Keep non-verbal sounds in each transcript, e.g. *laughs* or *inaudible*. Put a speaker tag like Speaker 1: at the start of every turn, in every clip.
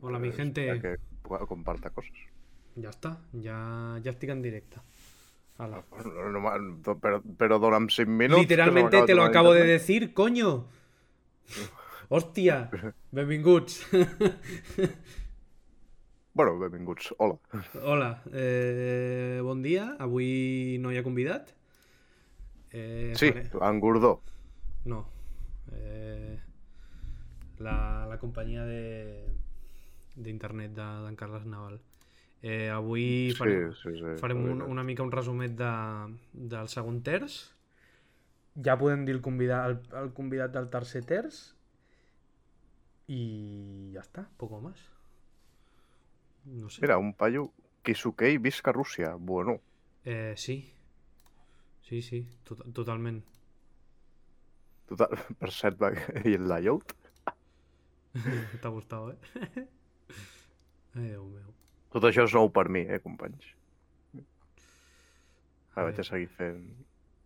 Speaker 1: Hola, mi
Speaker 2: Pues,
Speaker 1: gente.
Speaker 2: ya Eh, Que pueda- comparta cosas.
Speaker 1: Ya está, ya, ya estoy en directa. Ala.
Speaker 2: Ah, Bueno, no- no- no- pero, pero Doram sin minutos.
Speaker 1: Literalmente te lo acabo de decir, coño.
Speaker 2: *laughs*
Speaker 1: Hostia, benvinguts.
Speaker 2: Bueno, benvinguts. Hola.
Speaker 1: *laughs* Hola, eh, bon dia. Avui no hi ha convidat. Eh,
Speaker 2: Sí,
Speaker 1: faré-
Speaker 2: Angurdó.
Speaker 1: No. Eh, la, la companyia de d'internet de- d'en de, Carles Naval. Eh, avui
Speaker 2: Sí,
Speaker 1: farem,
Speaker 2: sí, sí,
Speaker 1: farem un,
Speaker 2: mira.
Speaker 1: una mica un resumet de, del segon terç. Ja podem dir el convidat, el, el convidat del tercer terç. I ja està, poco más. No sé.
Speaker 2: Mira, un paio Kisukei visca a Rússia. Bueno,
Speaker 1: Eh, sí. Sí, sí, to totalment.
Speaker 2: total, *laughs* per cert, va- i el layout.
Speaker 1: T'ha gustat, eh? *laughs* Ai, Déu meu.
Speaker 2: Tot això és nou per mi, eh, companys. Ara vaig
Speaker 1: Ai.
Speaker 2: a seguir fent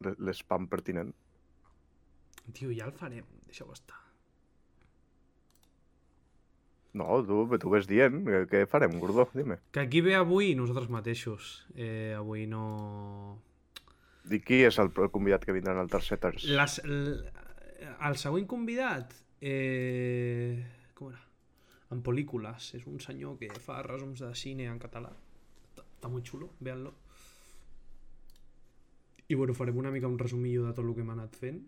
Speaker 2: l- l'espam pertinent.
Speaker 1: Tio, ja el farem, deixa-ho estar.
Speaker 2: No, tu, tu ves dient, eh, què farem, Gordó? Dime.
Speaker 1: Que aquí ve avui nosaltres mateixos. Eh, avui no...
Speaker 2: I qui és el pro- convidat que vindrà en el tercer terç?
Speaker 1: Les, l... El següent convidat... Eh... Com era? En pel·lícules. És un senyor que fa resums de cine en català. Està- Està molt xulo, veanlo. I bueno, farem una mica un resumillo de tot el que hem anat fent.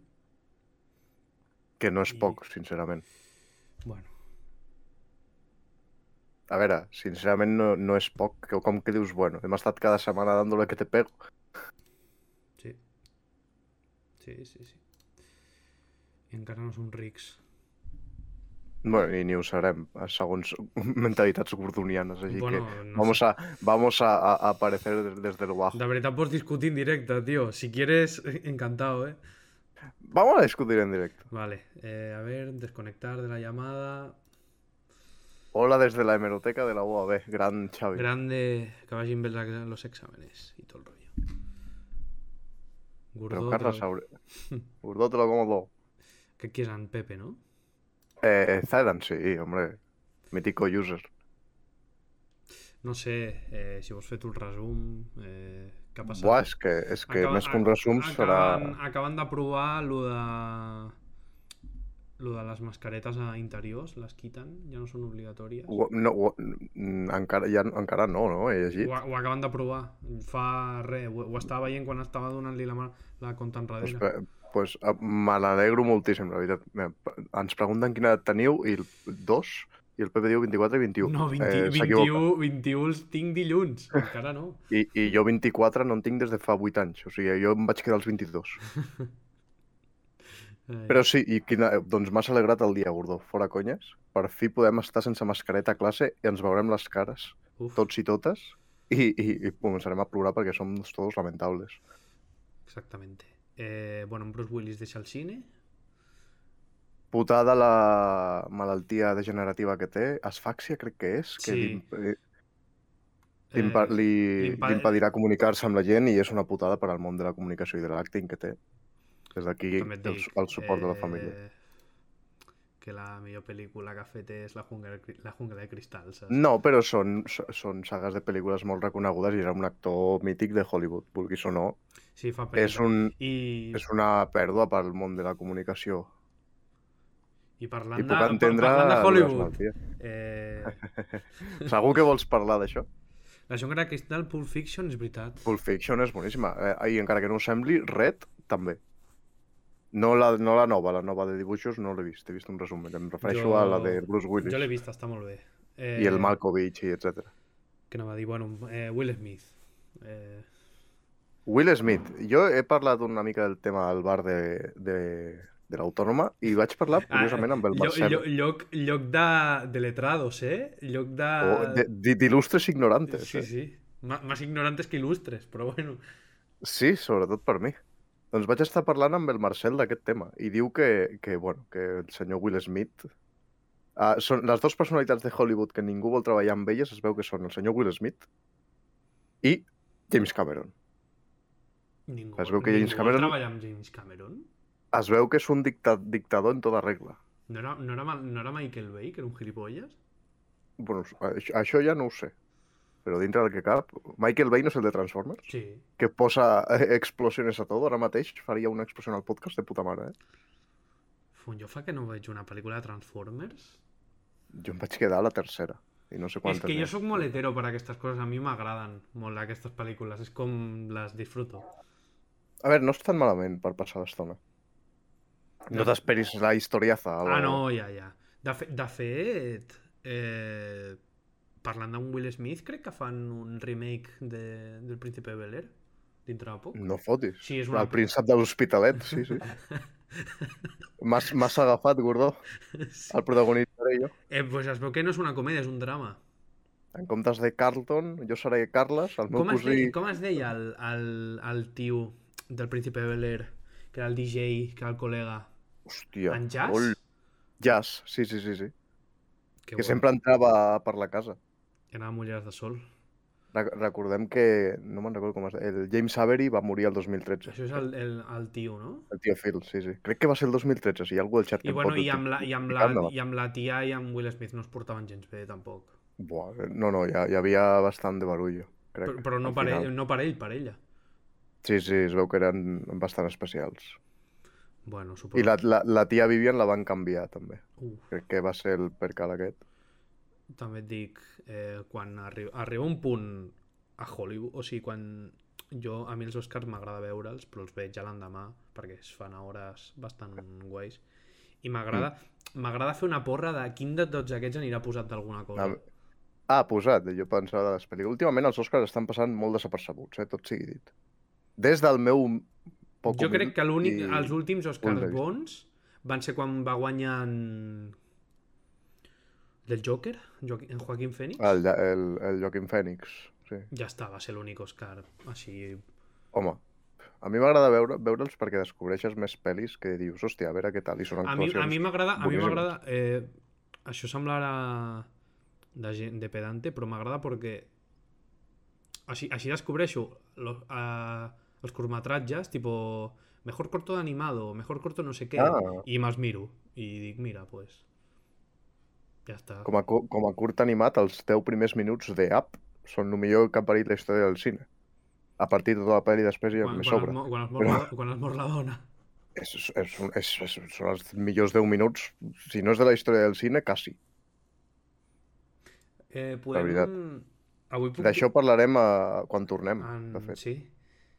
Speaker 2: Que no és poc, sincerament.
Speaker 1: Bueno,
Speaker 2: A veure, sincerament no, no és poc, que com que dius, bueno, hem estat cada setmana dándole que te pego.
Speaker 1: sí. Sí, sí, sí. I encara no som rics.
Speaker 2: Bueno, i ni ho serem, segons *laughs* mentalitats gordonianes, així
Speaker 1: Bueno,
Speaker 2: que
Speaker 1: no
Speaker 2: vamos, a, vamos a, a- a aparecer des- desde lo bajo.
Speaker 1: La verdad, por discutir en directa, tío. Si quieres, *laughs* encantado, ¿eh?
Speaker 2: Vamos a discutir en directo.
Speaker 1: Vale, eh, a ver, desconectar de la llamada.
Speaker 2: Hola desde la hemeroteca de la UAB, gran Xavi.
Speaker 1: Grande, que vagin bé la- los exámenes y todo el rollo.
Speaker 2: Però
Speaker 1: Gurdó, pero-
Speaker 2: Carles Saure...
Speaker 1: *laughs*
Speaker 2: Gordó te lo como todo.
Speaker 1: ¿Qué quieran, Pepe, no?
Speaker 2: Eh, Zaidan, sí, hombre. Mítico user.
Speaker 1: No sé, eh, si vos fet un resum, eh, què ha passat?
Speaker 2: Buah, és que, és que
Speaker 1: Acaba-
Speaker 2: més que un
Speaker 1: a-
Speaker 2: resum
Speaker 1: acaben,
Speaker 2: serà...
Speaker 1: acaben d'aprovar lo de... lo de les mascaretes a interiors, les quiten, ja no són obligatòries.
Speaker 2: Ua- No, ua- mm, encara, ja, encara no, no? He llegit.
Speaker 1: Ho, ho acaben d'aprovar. Fa res. Ho, ho estava veient quan estava donant-li la, mà- la
Speaker 2: Doncs,
Speaker 1: contenradera.
Speaker 2: eh, pues, eh, me n'alegro moltíssim, la veritat. Mira, p- Ens pregunten quina edat teniu i el 2 i el Pepe diu 24 i 21.
Speaker 1: No, 20,
Speaker 2: Eh, s'equivoca.
Speaker 1: 21, 21 els tinc dilluns. Encara no.
Speaker 2: I, I jo 24 no en tinc des de fa 8 anys, o sigui, jo em vaig quedar als 22.
Speaker 1: Eh. Ai,
Speaker 2: Però sí, i quina... eh, doncs m'has alegrat el dia, Gordó, fora conyes. Per fi podem estar sense mascareta a classe i ens veurem les cares,
Speaker 1: Uf,
Speaker 2: tots i totes, i, i, i començarem a plorar perquè som tots lamentables.
Speaker 1: Exactamente. Eh, bueno, en Bruce Willis deixa el cine.
Speaker 2: Putada la malaltia degenerativa que té, asfàxia crec que és, que
Speaker 1: Sí.
Speaker 2: li- eh,
Speaker 1: Eh,
Speaker 2: L'impa- li,
Speaker 1: l'impa-
Speaker 2: li impedirà comunicar-se amb la gent i és una putada per al món de la comunicació i de l'acting que té. Des d'aquí el,
Speaker 1: també et dic,
Speaker 2: el suport de la família.
Speaker 1: Eh, que la millor pel·lícula que ha fet és La jungla, de cri- la jungla de cristal, saps?
Speaker 2: No, però són, s- són sagues de pel·lícules molt reconegudes i era un actor mític de Hollywood, vulguis o no.
Speaker 1: Sí, fa pena.
Speaker 2: És, un,
Speaker 1: I,
Speaker 2: és una pèrdua pel món de la comunicació.
Speaker 1: i parlant,
Speaker 2: I
Speaker 1: de,
Speaker 2: puc
Speaker 1: par-
Speaker 2: entendre...
Speaker 1: parlant de
Speaker 2: les
Speaker 1: Hollywood,
Speaker 2: malalties.
Speaker 1: eh,
Speaker 2: Segur que vols parlar d'això?
Speaker 1: La jungla de cristal, Pulp Fiction, és veritat.
Speaker 2: Pulp Fiction és boníssima. Eh, I encara que no ho sembli, Red també. No la, no la nova, la nova de dibuixos no l'he vist. He vist un resum. Em refereixo
Speaker 1: Jo-
Speaker 2: a la de Bruce Willis.
Speaker 1: Jo l'he vist, està molt bé. Eh,
Speaker 2: i el Malkovich i etc.
Speaker 1: Que anava a dir, bueno, eh, Will Smith. Eh,
Speaker 2: Will Smith, jo he parlat una mica del tema del bar de, de, de l'Autònoma i vaig parlar
Speaker 1: Ah,
Speaker 2: curiosament amb el
Speaker 1: lloc,
Speaker 2: Marcel.
Speaker 1: lloc, lloc, lloc de, de letrados, eh? Lloc de...
Speaker 2: o Oh, de- di- D'il·lustres ignorantes. eh?
Speaker 1: sí,
Speaker 2: Sí, sí.
Speaker 1: sí. Ma- Más ignorantes que ilustres, però bueno.
Speaker 2: Eh? sí, sobretot per mi. Doncs vaig estar parlant amb el Marcel d'aquest tema i diu que, que, bueno, que el senyor Will Smith... Uh, són les dues personalitats de Hollywood que ningú vol treballar amb elles es veu que són el senyor Will Smith i James Cameron.
Speaker 1: Ningú,
Speaker 2: Es veu que James
Speaker 1: ningú
Speaker 2: Cameron-
Speaker 1: treballa amb James Cameron?
Speaker 2: Es veu que és un dicta dictador en tota regla.
Speaker 1: No era, no, era, Ma- no era Michael Bay, que era un gilipolles?
Speaker 2: Bueno, això, això ja no ho sé. Però dintre del que cap, Michael Bay no és el de Transformers?
Speaker 1: Sí.
Speaker 2: Que posa eh, explosiones a tot? Ara mateix faria una explosió al podcast de puta mare, eh?
Speaker 1: Fun, jo fa que no veig una pel·lícula de Transformers.
Speaker 2: Jo em vaig quedar a la tercera. I no sé
Speaker 1: És
Speaker 2: quantes
Speaker 1: que jo
Speaker 2: més.
Speaker 1: sóc molt hetero per aquestes coses, a mi m'agraden molt aquestes pel·lícules, és com les disfruto.
Speaker 2: Ah, A veure, no és tan malament per passar l'estona. No
Speaker 1: No.
Speaker 2: t'esperis la historiaza. a lo-
Speaker 1: Ah, no, ja, ja. De, fe, de fet, eh, parlant d'en Will Smith, crec que fan un remake de, del Príncipe Bel-Air dintre de poc.
Speaker 2: No fotis.
Speaker 1: Sí, és una...
Speaker 2: El príncep de l'Hospitalet, sí,
Speaker 1: *laughs*
Speaker 2: sí. M'has m'has agafat, Gordó.
Speaker 1: *laughs* sí.
Speaker 2: El protagonista era jo.
Speaker 1: Eh, pues es veu que no és una comèdia, és un drama.
Speaker 2: En comptes de Carlton, jo seré Carles, el meu
Speaker 1: Com es,
Speaker 2: cosí...
Speaker 1: deia, com es deia el, el, el tio del Príncipe Bel-Air, que era el DJ, que era el col·lega?
Speaker 2: Hòstia.
Speaker 1: En Jazz?
Speaker 2: ol. Jazz, sí, sí, sí. sí.
Speaker 1: Que,
Speaker 2: que sempre entrava per la casa.
Speaker 1: Era Mulleres de Sol.
Speaker 2: Re recordem que, no me'n recordo com es deia, el James Avery va morir el 2013.
Speaker 1: Això és el, el, el tio, no?
Speaker 2: El tio Phil, sí, sí. Crec que va ser el 2013, si hi ha algú al xat que
Speaker 1: I,
Speaker 2: em
Speaker 1: bueno,
Speaker 2: pot
Speaker 1: i, amb la, i, amb la,
Speaker 2: explicar-me-la.
Speaker 1: I amb la tia i amb Will Smith no es portaven gens bé, tampoc.
Speaker 2: Buah, eh, no, no, hi, ha, hi havia bastant de barullo, crec.
Speaker 1: Però, però no,
Speaker 2: al
Speaker 1: per
Speaker 2: final.
Speaker 1: ell, no per ell, per ella.
Speaker 2: Sí, sí, es veu que eren bastant especials.
Speaker 1: Bueno, suposo. Uh.
Speaker 2: I la, la, la tia Vivian la van canviar, també.
Speaker 1: Uf,
Speaker 2: Crec que va ser el percal aquest.
Speaker 1: també et dic, eh, quan arri arriba un punt a Hollywood, o sigui, quan jo, a mi els Oscars m'agrada veure'ls, però els veig a l'endemà, perquè es fan a hores bastant guais, i m'agrada m'agrada fer una porra de quin de tots aquests anirà posat d'alguna cosa.
Speaker 2: Ah, Ah, posat, jo pensava de les pel·lícules. Últimament els Oscars estan passant molt desapercebuts, eh, tot sigui dit. Des del meu poc
Speaker 1: jo crec que l'únic,
Speaker 2: i-
Speaker 1: els últims
Speaker 2: punt de
Speaker 1: Oscars
Speaker 2: vista.
Speaker 1: bons van ser quan va guanyar en... del Joker, Joaqu- en Joaquín Phoenix.
Speaker 2: El, el, el Joaquim Fènix, sí.
Speaker 1: Ja està, va ser l'únic Oscar així
Speaker 2: Home, a mi m'agrada veure, veure'ls perquè descobreixes més pel·lis que dius, hòstia, a veure què tal, i són
Speaker 1: a mi,
Speaker 2: actuacions.
Speaker 1: a mi m'agrada, a mi
Speaker 2: boníssimes.
Speaker 1: m'agrada... Eh, això semblarà de, gent, de pedante, però m'agrada perquè així, així descobreixo lo, eh, els curtmetratges, tipo mejor corto d'animado, mejor corto no sé què,
Speaker 2: Ah.
Speaker 1: i me'ls miro. I dic, mira, pues... Ja està.
Speaker 2: Com a, cu- com a curt animat, els 10 primers minuts de Up són el millor que ha parit la història del cine. A partir de tota la pel·li després ja
Speaker 1: quan, quan,
Speaker 2: me
Speaker 1: es,
Speaker 2: sobra.
Speaker 1: mo-
Speaker 2: *laughs*
Speaker 1: quan, es mor, la, quan es mor la dona.
Speaker 2: És, és, és, un- és, és, són els millors 10 minuts, si no és de la història del cine, quasi.
Speaker 1: Eh,
Speaker 2: veritat.
Speaker 1: podem... Avui puc...
Speaker 2: D'això parlarem a... quan tornem,
Speaker 1: En...
Speaker 2: de fet.
Speaker 1: Sí.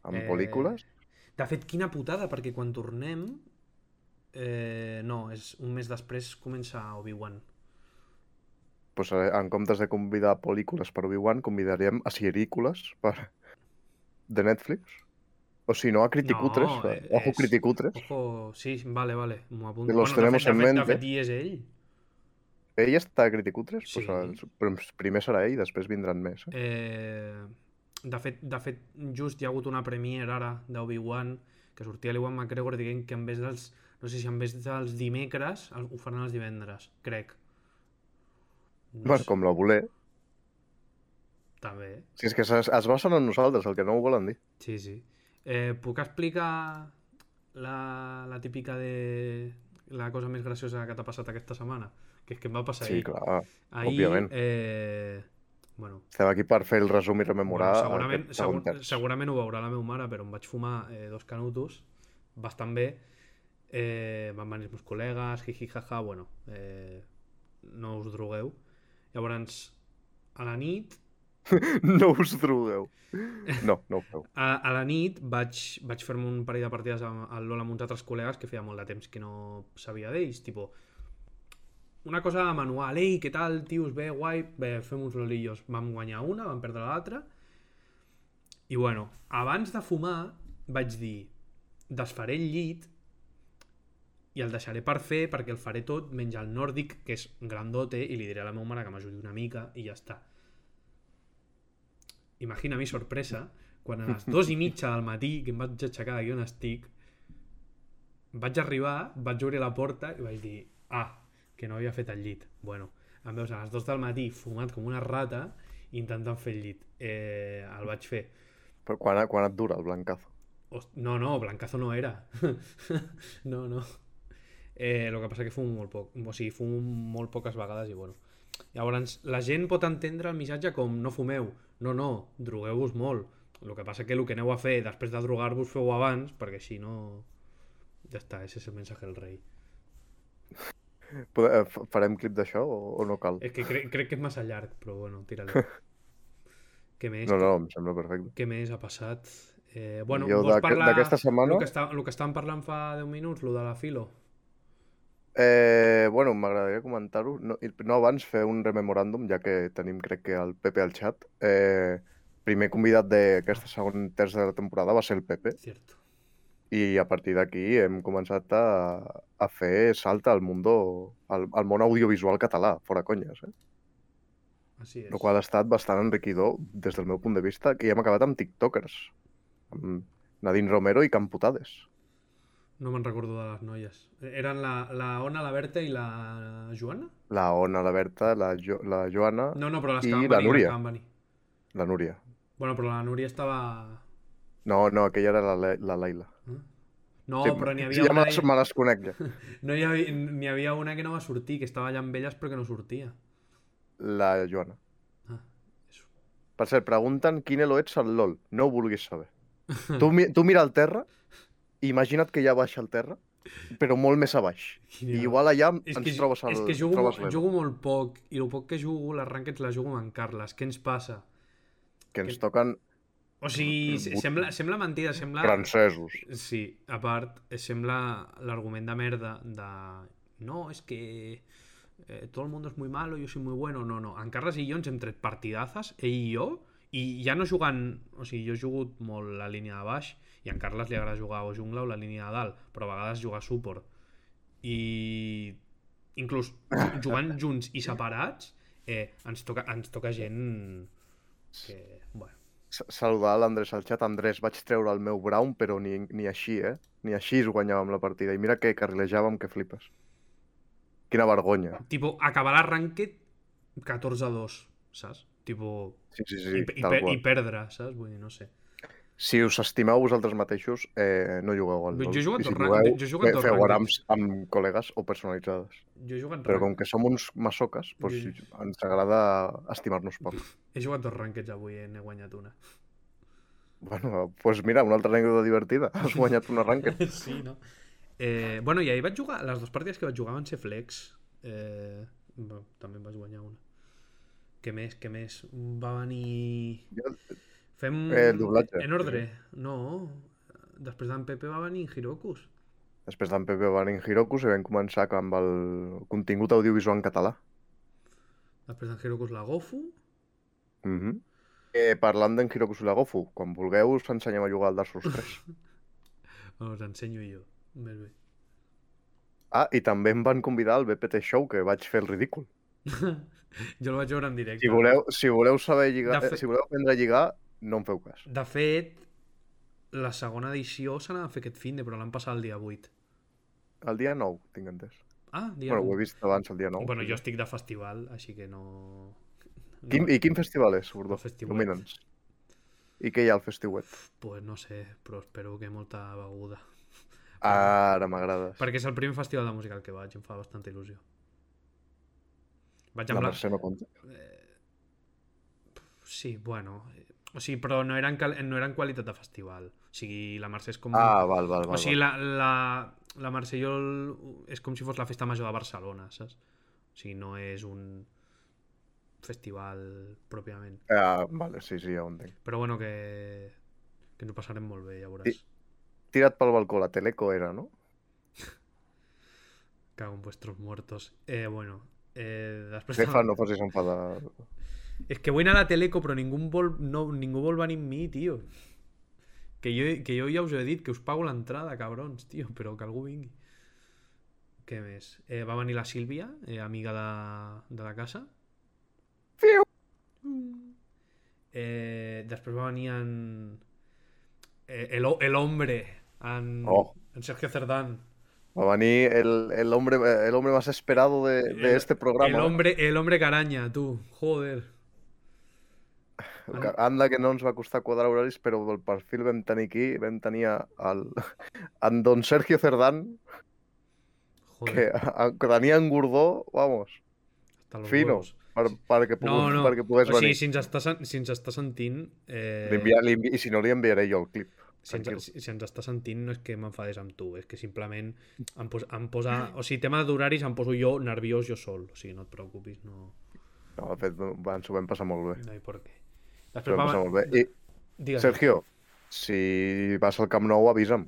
Speaker 2: En
Speaker 1: eh,
Speaker 2: pel·lícules?
Speaker 1: De fet, quina putada, perquè quan tornem... Eh, no, és un mes després comença Obi-Wan.
Speaker 2: Pues, eh, en comptes de convidar pel·lícules per Obi-Wan, convidarem a Sierícules per... de Netflix. O si no, a Criticutres.
Speaker 1: No, eh,
Speaker 2: Ojo,
Speaker 1: és-
Speaker 2: Criticutres.
Speaker 1: Ojo, sí, vale, vale, m'ho apunto.
Speaker 2: Los
Speaker 1: de
Speaker 2: tenemos
Speaker 1: fet, de
Speaker 2: en
Speaker 1: fet-
Speaker 2: mente.
Speaker 1: De fet, hi és ell.
Speaker 2: Ell està a Criticutres?
Speaker 1: Sí.
Speaker 2: Pues, els... Però primer serà ell, després vindran més. Eh?
Speaker 1: Eh, de, fet, de fet, just hi ha hagut una premier ara d'Obi-Wan que sortia l'Iwan McGregor dient que en vez dels... No sé si en vez dels dimecres el- ho faran els divendres, crec. No
Speaker 2: Bueno,
Speaker 1: sé,
Speaker 2: com la voler.
Speaker 1: També,
Speaker 2: Si és que es, es basen en nosaltres, el que no ho volen dir.
Speaker 1: Sí, sí. Eh, puc explicar la, la típica de la cosa més graciosa que t'ha passat aquesta setmana? Que és que em va passar
Speaker 2: Sí,
Speaker 1: ahir.
Speaker 2: clar.
Speaker 1: Ahir,
Speaker 2: òbviament.
Speaker 1: Eh, bueno,
Speaker 2: Estem aquí per fer el resum i rememorar...
Speaker 1: bueno segurament,
Speaker 2: aquest segon
Speaker 1: segur,
Speaker 2: terç.
Speaker 1: segurament ho veurà la meva mare, però em vaig fumar eh, dos canutos bastant bé. Eh, van venir els meus col·legues, jiji, jaja, bueno, eh, no us drogueu. Llavors, a la nit
Speaker 2: *laughs* No us
Speaker 1: *laughs*
Speaker 2: drogueu. No, no ho feu.
Speaker 1: A, a la nit vaig, vaig fer-me un parell de partides amb el LoL amb uns altres col·legues que feia molt de temps que no sabia d'ells, tipo una cosa manual, ei, què tal, tios, bé, guai, bé, fem uns lolillos. Vam guanyar una, vam perdre l'altra. I bueno, abans de fumar vaig dir, desfaré el llit i el deixaré per fer perquè el faré tot menys el nòrdic, que és grandote, i li diré a la meva mare que m'ajudi una mica i ja està. Imagina mi sorpresa quan a les dues i mitja del matí que em vaig aixecar d'aquí on estic vaig arribar, vaig obrir la porta i vaig dir, ah, que no havia fet el llit. Bueno, em veus a les dues del matí fumat com una rata intentant fer el llit. Eh, el vaig fer.
Speaker 2: Però quan, quan et dura el blancazo?
Speaker 1: Host- No, no, Blancazo no era. *laughs* no, no. Eh, lo que passa que fumo molt poc. O sigui, fumo molt poques vegades i bueno. Llavors, la gent pot entendre el missatge com no fumeu, no, no, drogueu-vos molt. El que passa que el que aneu a fer després de drogar-vos feu abans, perquè així no... Ja està, ese és el missatge del rei.
Speaker 2: Pode- eh, fa- Farem clip d'això o, o no cal?
Speaker 1: És que cre crec que és massa llarg, però bueno,
Speaker 2: *laughs*
Speaker 1: tira-li. Què més?
Speaker 2: No, no, em sembla perfecte.
Speaker 1: Què més ha passat? Eh, bueno,
Speaker 2: Jo
Speaker 1: vols
Speaker 2: d'aquest-
Speaker 1: parlar...
Speaker 2: d'aquesta setmana-
Speaker 1: El que, està, el que estàvem parlant fa 10 minuts, el de la Filo.
Speaker 2: Eh, bueno, m'agradaria comentar-ho. No, i- no abans fer un rememoràndum, ja que tenim, crec que, el Pepe al xat. Eh, primer convidat d'aquesta segona terça de la temporada va ser el Pepe,
Speaker 1: Cierto.
Speaker 2: i a partir d'aquí hem començat a, a fer salta al, mundo, al, al món audiovisual català, fora conyes. Eh?
Speaker 1: Així és.
Speaker 2: El qual ha estat bastant enriquidor des del meu punt de vista, que ja hem acabat amb tiktokers, amb Nadine Romero i Camputades.
Speaker 1: No me'n recordo de les noies. Eh, Eren la, la Ona, la Berta i la Joana?
Speaker 2: La Ona, la Berta, la, jo, la Joana,
Speaker 1: No, no, però les
Speaker 2: I
Speaker 1: que van
Speaker 2: la
Speaker 1: venir, les
Speaker 2: Núria.
Speaker 1: que van venir.
Speaker 2: la Núria.
Speaker 1: Bueno, però la Núria estava...
Speaker 2: No, no, aquella era la, Le- la Laila.
Speaker 1: Eh? No,
Speaker 2: Sí,
Speaker 1: però n'hi
Speaker 2: sí,
Speaker 1: havia,
Speaker 2: ja
Speaker 1: una...
Speaker 2: me les, me les conec ja.
Speaker 1: No hi havia, n'hi havia una que no va sortir, que estava allà amb elles però que no sortia.
Speaker 2: La Joana.
Speaker 1: Ah,
Speaker 2: Per cert, pregunten quin elo ets al LOL. No ho vulguis
Speaker 1: *laughs*
Speaker 2: saber. Tu, mi- tu mira al terra, imagina't que ja baixa al terra, però molt més a baix.
Speaker 1: quina-
Speaker 2: I igual allà
Speaker 1: és
Speaker 2: ens
Speaker 1: que,
Speaker 2: trobes al...
Speaker 1: És que jugo,
Speaker 2: trobes l'elo.
Speaker 1: jugo molt poc, i el poc que jugo, les rankings les jugo amb en Carles. Què ens passa?
Speaker 2: que ens
Speaker 1: que-
Speaker 2: toquen
Speaker 1: O sigui,
Speaker 2: Mm,
Speaker 1: se- sembla, sembla mentida, sembla...
Speaker 2: francesos.
Speaker 1: Sí, a part, eh, sembla l'argument de merda de... No, és que eh, todo el mundo es muy malo, yo soy muy bueno. No, no, en Carles i jo ens hem tret partidazes, ell i jo, i ja no jugant... O sigui, jo he jugut molt la línia de baix i a en Carles li agrada jugar o jungla o la línia de dalt, però a vegades jugar suport. I inclús jugant junts i separats, eh, ens, toca, ens toca gent que... Bueno,
Speaker 2: S- Saludar l'Andrés al xat. Andrés, vaig treure el meu Brown, però ni, ni així, eh? Ni així es guanyàvem la partida. I mira que carrilejàvem, que flipes. Quina vergonya.
Speaker 1: Tipo, acabar la ranked 14-2, saps? Tipo,
Speaker 2: Sí, sí,
Speaker 1: i,
Speaker 2: sí,
Speaker 1: i,
Speaker 2: tal
Speaker 1: per,
Speaker 2: qual.
Speaker 1: i perdre, saps? Vull dir, no sé.
Speaker 2: Si us estimeu vosaltres mateixos, eh, no jugueu al
Speaker 1: Jo he
Speaker 2: LoL.
Speaker 1: jugat
Speaker 2: I si
Speaker 1: dos ra-
Speaker 2: jugueu,
Speaker 1: jo he jugat
Speaker 2: fe-
Speaker 1: dos
Speaker 2: feu
Speaker 1: rànquings.
Speaker 2: arams amb col·legues o personalitzades.
Speaker 1: Jo he jugat,
Speaker 2: Però
Speaker 1: rank...
Speaker 2: com que som uns massoques, doncs
Speaker 1: Jo-
Speaker 2: ens agrada estimar-nos
Speaker 1: *laughs*
Speaker 2: poc.
Speaker 1: he jugat dos rankeds avui i n'he guanyat una.
Speaker 2: Bueno, doncs mira, una altra anècdota divertida. Has guanyat una rànquet.
Speaker 1: *laughs* sí, no? Eh, bueno, i ahir vaig jugar, les dues partides que vaig jugar van ser flex. Eh, va, també em vaig guanyar una. Què més, què més? Va venir...
Speaker 2: Jo-
Speaker 1: Fem...
Speaker 2: Eh, el doblatge.
Speaker 1: En ordre. No, després d'en Pepe va venir Hirokus.
Speaker 2: Després d'en Pepe van en Hirokus i vam començar amb el contingut audiovisual en català.
Speaker 1: Després d'en Hirokus la Gofu.
Speaker 2: Mm
Speaker 1: Mhm.
Speaker 2: eh, parlant d'en Hirokus i la Gofu, quan vulgueu us ensenyem a jugar al Dark Souls
Speaker 1: *laughs*
Speaker 2: 3.
Speaker 1: Bueno, us ensenyo jo. Més bé.
Speaker 2: Ah, i també em van convidar al BPT Show, que vaig fer el ridícul.
Speaker 1: *coughs* jo el vaig veure en directe.
Speaker 2: Si voleu, si voleu saber lligar,
Speaker 1: De fet-
Speaker 2: eh, si voleu aprendre a lligar, no em feu cas.
Speaker 1: De fet, la segona edició se n'ha de fer aquest fin de, però l'han passat el dia 8.
Speaker 2: El dia 9, tinc entès.
Speaker 1: Ah, dia
Speaker 2: Bueno, ho
Speaker 1: 8.
Speaker 2: he vist abans, el dia 9.
Speaker 1: bueno, jo estic de festival, així que no... no
Speaker 2: Quin, I quin festival és, Gordó?
Speaker 1: El festival.
Speaker 2: Domina'ns. I què hi ha al festival?
Speaker 1: Pues no sé, però espero que molta beguda.
Speaker 2: Ara m'agrades.
Speaker 1: Ah. Perquè és el primer festival de música al que vaig, em fa bastanta il·lusió. Vaig
Speaker 2: La
Speaker 1: amb la...
Speaker 2: Mercè no compta.
Speaker 1: Sí, bueno... eh, O sigui, però no eren, cal... no eren qualitat de festival. O sigui, la Mercè és com...
Speaker 2: Ah, val, val, val.
Speaker 1: O sigui,
Speaker 2: val.
Speaker 1: Pues la, la, la Marsellol és com si fos la festa major de Barcelona, saps? O sigui, no és un festival pròpiament.
Speaker 2: Ah, vale, sí, sí, ja ho entenc.
Speaker 1: Però bueno, que, que ens ho passarem molt bé, ja veuràs. Sí.
Speaker 2: Tirat pel balcó, la Teleco era,
Speaker 1: *laughs*
Speaker 2: no?
Speaker 1: Cago en vuestros muertos. Eh, bueno, eh, després...
Speaker 2: Jefa, no facis enfadar.
Speaker 1: És que vull anar a la Teleco, però ningú em vol, no, ningú vol venir amb mi, tio. Que jo, que jo ja us he dit que us pago l'entrada, cabrons, tio, però que algú vingui. Què més? Eh, va venir la Sílvia, eh, amiga de, de la casa.
Speaker 2: Fiu!
Speaker 1: Eh, després va venir en... eh, el, el hombre, en,
Speaker 2: Oh.
Speaker 1: en Sergio Cerdán.
Speaker 2: Va venir el, el, hombre, el hombre más esperado de, de
Speaker 1: El-
Speaker 2: este
Speaker 1: El
Speaker 2: programa.
Speaker 1: hombre, el hombre caraña, tú. Joder.
Speaker 2: Que Anda que no ens va costar quadrar horaris, però el perfil vam tenir aquí, vam tenir a- el, *laughs* en don Sergio Cerdán,
Speaker 1: Joder.
Speaker 2: que, que tenia en Gordó, vamos,
Speaker 1: Hasta los
Speaker 2: Fino.
Speaker 1: huevos.
Speaker 2: per, perquè, puguis,
Speaker 1: No, no.
Speaker 2: perquè
Speaker 1: o
Speaker 2: pogués
Speaker 1: sigui,
Speaker 2: venir.
Speaker 1: si ens està, sen- si ens està sentint... Eh,
Speaker 2: Li envia- li envi- I si no, li enviaré jo el clip.
Speaker 1: si,
Speaker 2: tranquil.
Speaker 1: ens, si ens està sentint no és que m'enfadés amb tu, és que simplement em, pos, em posa... O sigui, tema d'horaris em poso jo nerviós jo sol. O sigui, no et preocupis, no,
Speaker 2: No, de fet, va, ens ho vam passar molt bé.
Speaker 1: no hi per què.
Speaker 2: Ens ho
Speaker 1: Després
Speaker 2: vam passar molt bé. I,
Speaker 1: Digues,
Speaker 2: Sergio, si vas al Camp Nou, avisa'm.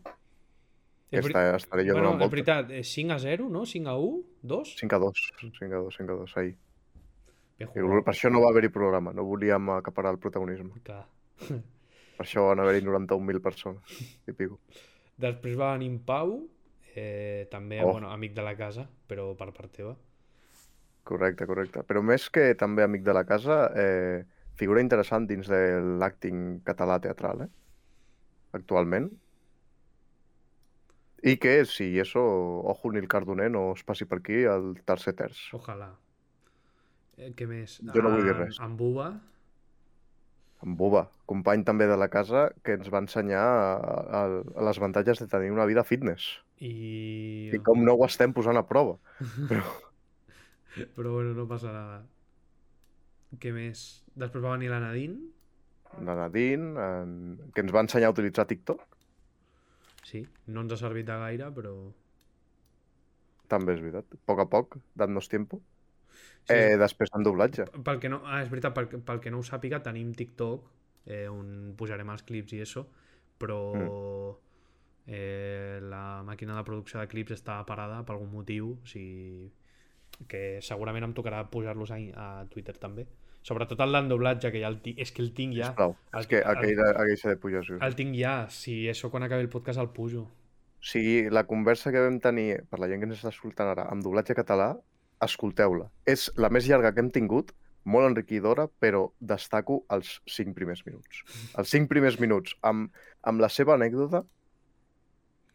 Speaker 1: és Eh,
Speaker 2: Que
Speaker 1: veri-
Speaker 2: està, estaré jo
Speaker 1: bueno,
Speaker 2: donant
Speaker 1: en
Speaker 2: voltes.
Speaker 1: veritat, eh, 5 a 0, no? 5 a 1? 2?
Speaker 2: 5 a 2, 5 a 2, 5 a 2, ahir.
Speaker 1: Ben
Speaker 2: I
Speaker 1: jugat.
Speaker 2: per això no va haver-hi programa, no volíem acaparar el protagonisme.
Speaker 1: Clar.
Speaker 2: Per això van haver-hi 91.000 persones i pico.
Speaker 1: Després va venir en Pau, eh, també
Speaker 2: Oh.
Speaker 1: bueno, amic de la casa, però per part teva.
Speaker 2: Correcte, correcte. Però més que també amic de la casa, eh, figura interessant dins de l'acting català teatral, eh? Actualment. I que, si eso, ojo, Nil Cardoner no es passi per aquí al tercer terç.
Speaker 1: Ojalà. Eh, què més?
Speaker 2: Jo no vull dir
Speaker 1: En-
Speaker 2: res.
Speaker 1: En Buba,
Speaker 2: En Buba, company també de la casa, que ens va ensenyar a, a, a les avantatges de tenir una vida fitness.
Speaker 1: i...
Speaker 2: I com no ho estem posant a prova.
Speaker 1: Però bueno, no passa nada. Què més? Després va venir la Nadine,
Speaker 2: La Nadine, en... que ens va ensenyar a utilitzar TikTok,
Speaker 1: sí, no ens ha servit de gaire, però...
Speaker 2: també és veritat. A poc a poc, dant-nos tiempo.
Speaker 1: Sí,
Speaker 2: Eh, després en doblatge.
Speaker 1: Pel que no... Ah, és veritat, pel, que- pel que no ho sàpiga, tenim TikTok, eh, on pujarem els clips i això, però...
Speaker 2: Mm.
Speaker 1: Eh, la màquina de producció de clips està parada per algun motiu, o sigui que segurament em tocarà pujar-los a, a Twitter també. Sobretot el del doblatge, que ja el tinc, és que el tinc ja.
Speaker 2: Prou.
Speaker 1: El-
Speaker 2: És que
Speaker 1: el-
Speaker 2: aquell, aquell s'ha de pujar. Sí.
Speaker 1: El tinc ja, si això quan acabi el podcast el pujo.
Speaker 2: O sigui, la conversa que vam tenir, per la gent que ens està escoltant ara, amb doblatge català, escolteu-la. És la més llarga que hem tingut, molt enriquidora, però destaco els cinc primers minuts. Els cinc primers minuts, amb, amb la seva anècdota,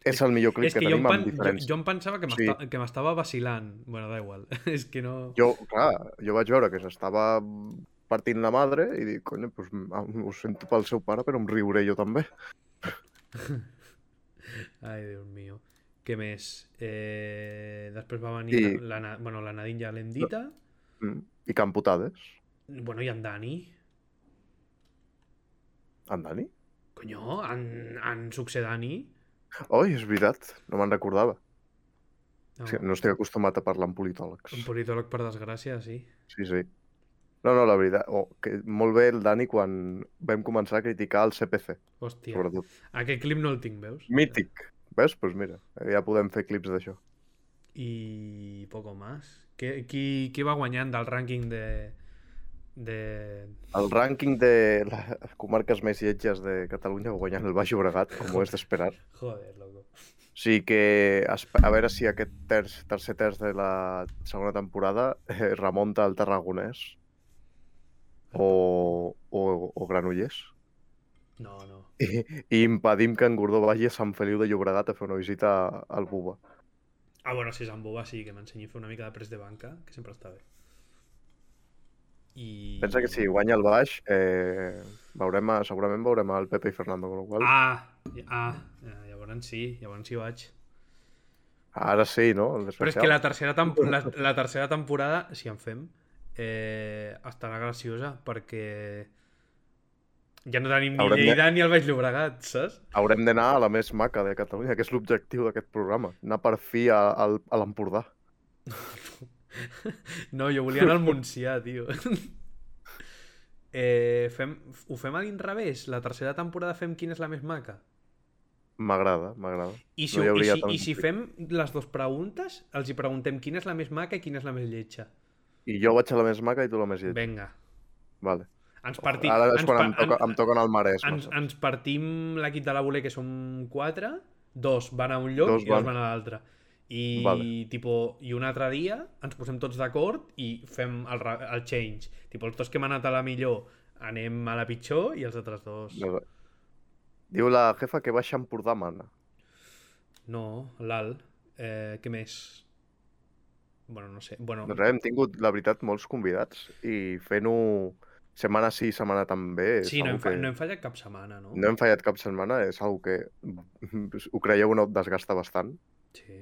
Speaker 2: és el millor clip
Speaker 1: és
Speaker 2: que,
Speaker 1: que, jo, em
Speaker 2: tenim
Speaker 1: pen,
Speaker 2: amb
Speaker 1: jo,
Speaker 2: diferència.
Speaker 1: jo em pensava que
Speaker 2: Sí.
Speaker 1: m'esta- que m'estava vacilant. bueno, da igual. *laughs* és que no...
Speaker 2: Jo, clar, jo vaig veure que s'estava partint la madre i dic, coño, pues, m- ho sento pel seu pare, però em riuré jo també.
Speaker 1: Ai, Déu meu. Què més? Eh, després va venir
Speaker 2: I-
Speaker 1: la, la, Na- bueno, la Nadine ja l'hem dita.
Speaker 2: Mm. I Camputades,
Speaker 1: Bueno, i en Dani.
Speaker 2: en Dani.
Speaker 1: Conyo, en, en Succedani.
Speaker 2: Oi, és veritat, no me'n recordava.
Speaker 1: No,
Speaker 2: Sí, no estic acostumat a parlar amb politòlegs.
Speaker 1: Un politòleg, per desgràcia, sí.
Speaker 2: Sí, sí. No, no, la veritat. Oh, que molt bé el Dani quan vam començar a criticar el CPC,
Speaker 1: Hòstia.
Speaker 2: sobretot.
Speaker 1: Aquest clip no el tinc, veus?
Speaker 2: Mític. Veus? Doncs pues mira, ja podem fer clips d'això.
Speaker 1: I poco más. Què, qui, qui va guanyant del rànquing de... de...
Speaker 2: El rànquing de les comarques més lletges de Catalunya guanyant el Baix Llobregat, com ho és d'esperar.
Speaker 1: Joder, loco.
Speaker 2: O sigui que esp- a veure si aquest terç, tercer terç de la segona temporada eh, remunta al Tarragonès o, o, o Granollers
Speaker 1: No, no.
Speaker 2: i, i impedim que en Gordó vagi a Sant Feliu de Llobregat a fer una visita al Buba.
Speaker 1: Ah, bueno, si és en Boba, sí, que m'ensenyi a fer una mica de pres de banca, que sempre està bé. I...
Speaker 2: Pensa que si guanya el Baix, eh, veurem a, segurament veurem el Pepe i Fernando, amb la qual cosa,
Speaker 1: Ah, ah, eh, llavors sí, llavors sí vaig.
Speaker 2: ara sí, no? El
Speaker 1: Però és que la tercera, temp la, la tercera temporada, si en fem, eh, estarà graciosa perquè ja no tenim ni
Speaker 2: Haurem de-
Speaker 1: Lleida ni el Baix Llobregat, saps?
Speaker 2: Haurem d'anar a la més maca de Catalunya, que és l'objectiu d'aquest programa, anar per fi a, a, a l'Empordà.
Speaker 1: No, jo volia anar al Montsià, *laughs* tio. Eh, fem, ho fem a l'inrevés? La tercera temporada fem quina és la més maca?
Speaker 2: M'agrada, m'agrada.
Speaker 1: I si,
Speaker 2: No
Speaker 1: no
Speaker 2: hi
Speaker 1: i,
Speaker 2: hauria
Speaker 1: si,
Speaker 2: tant
Speaker 1: I si
Speaker 2: conflicte.
Speaker 1: fem les dues preguntes, els hi preguntem quina és la més maca i quina és la més lletja.
Speaker 2: I jo vaig a la més maca i tu a la més lletja.
Speaker 1: Venga.
Speaker 2: Vale.
Speaker 1: Ens partim...
Speaker 2: Ara és
Speaker 1: ens
Speaker 2: quan
Speaker 1: pa-
Speaker 2: em, toca, em toquen el marès.
Speaker 1: ens,
Speaker 2: massa.
Speaker 1: ens partim l'equip de la voler, que som quatre, dos van a un lloc
Speaker 2: Dos
Speaker 1: i dos
Speaker 2: van.
Speaker 1: van a l'altre. I,
Speaker 2: Vale.
Speaker 1: tipo, i un altre dia ens posem tots d'acord i fem el, ra- el change. Tipo, els dos que hem anat a la millor anem a la pitjor i els altres dos... No,
Speaker 2: Vale. Diu la jefa que baixa a Empordà mana.
Speaker 1: l'alt. Eh, què més? Bueno, no sé. Bueno,
Speaker 2: Doncs res, hem tingut, la veritat, molts convidats i fent-ho setmana sí, setmana també.
Speaker 1: sí,
Speaker 2: és
Speaker 1: no
Speaker 2: algo
Speaker 1: hem, fa,
Speaker 2: que...
Speaker 1: no hem fallat cap setmana, no?
Speaker 2: No hem fallat cap setmana, és algo que *laughs* ho creieu o no et desgasta bastant.
Speaker 1: Sí.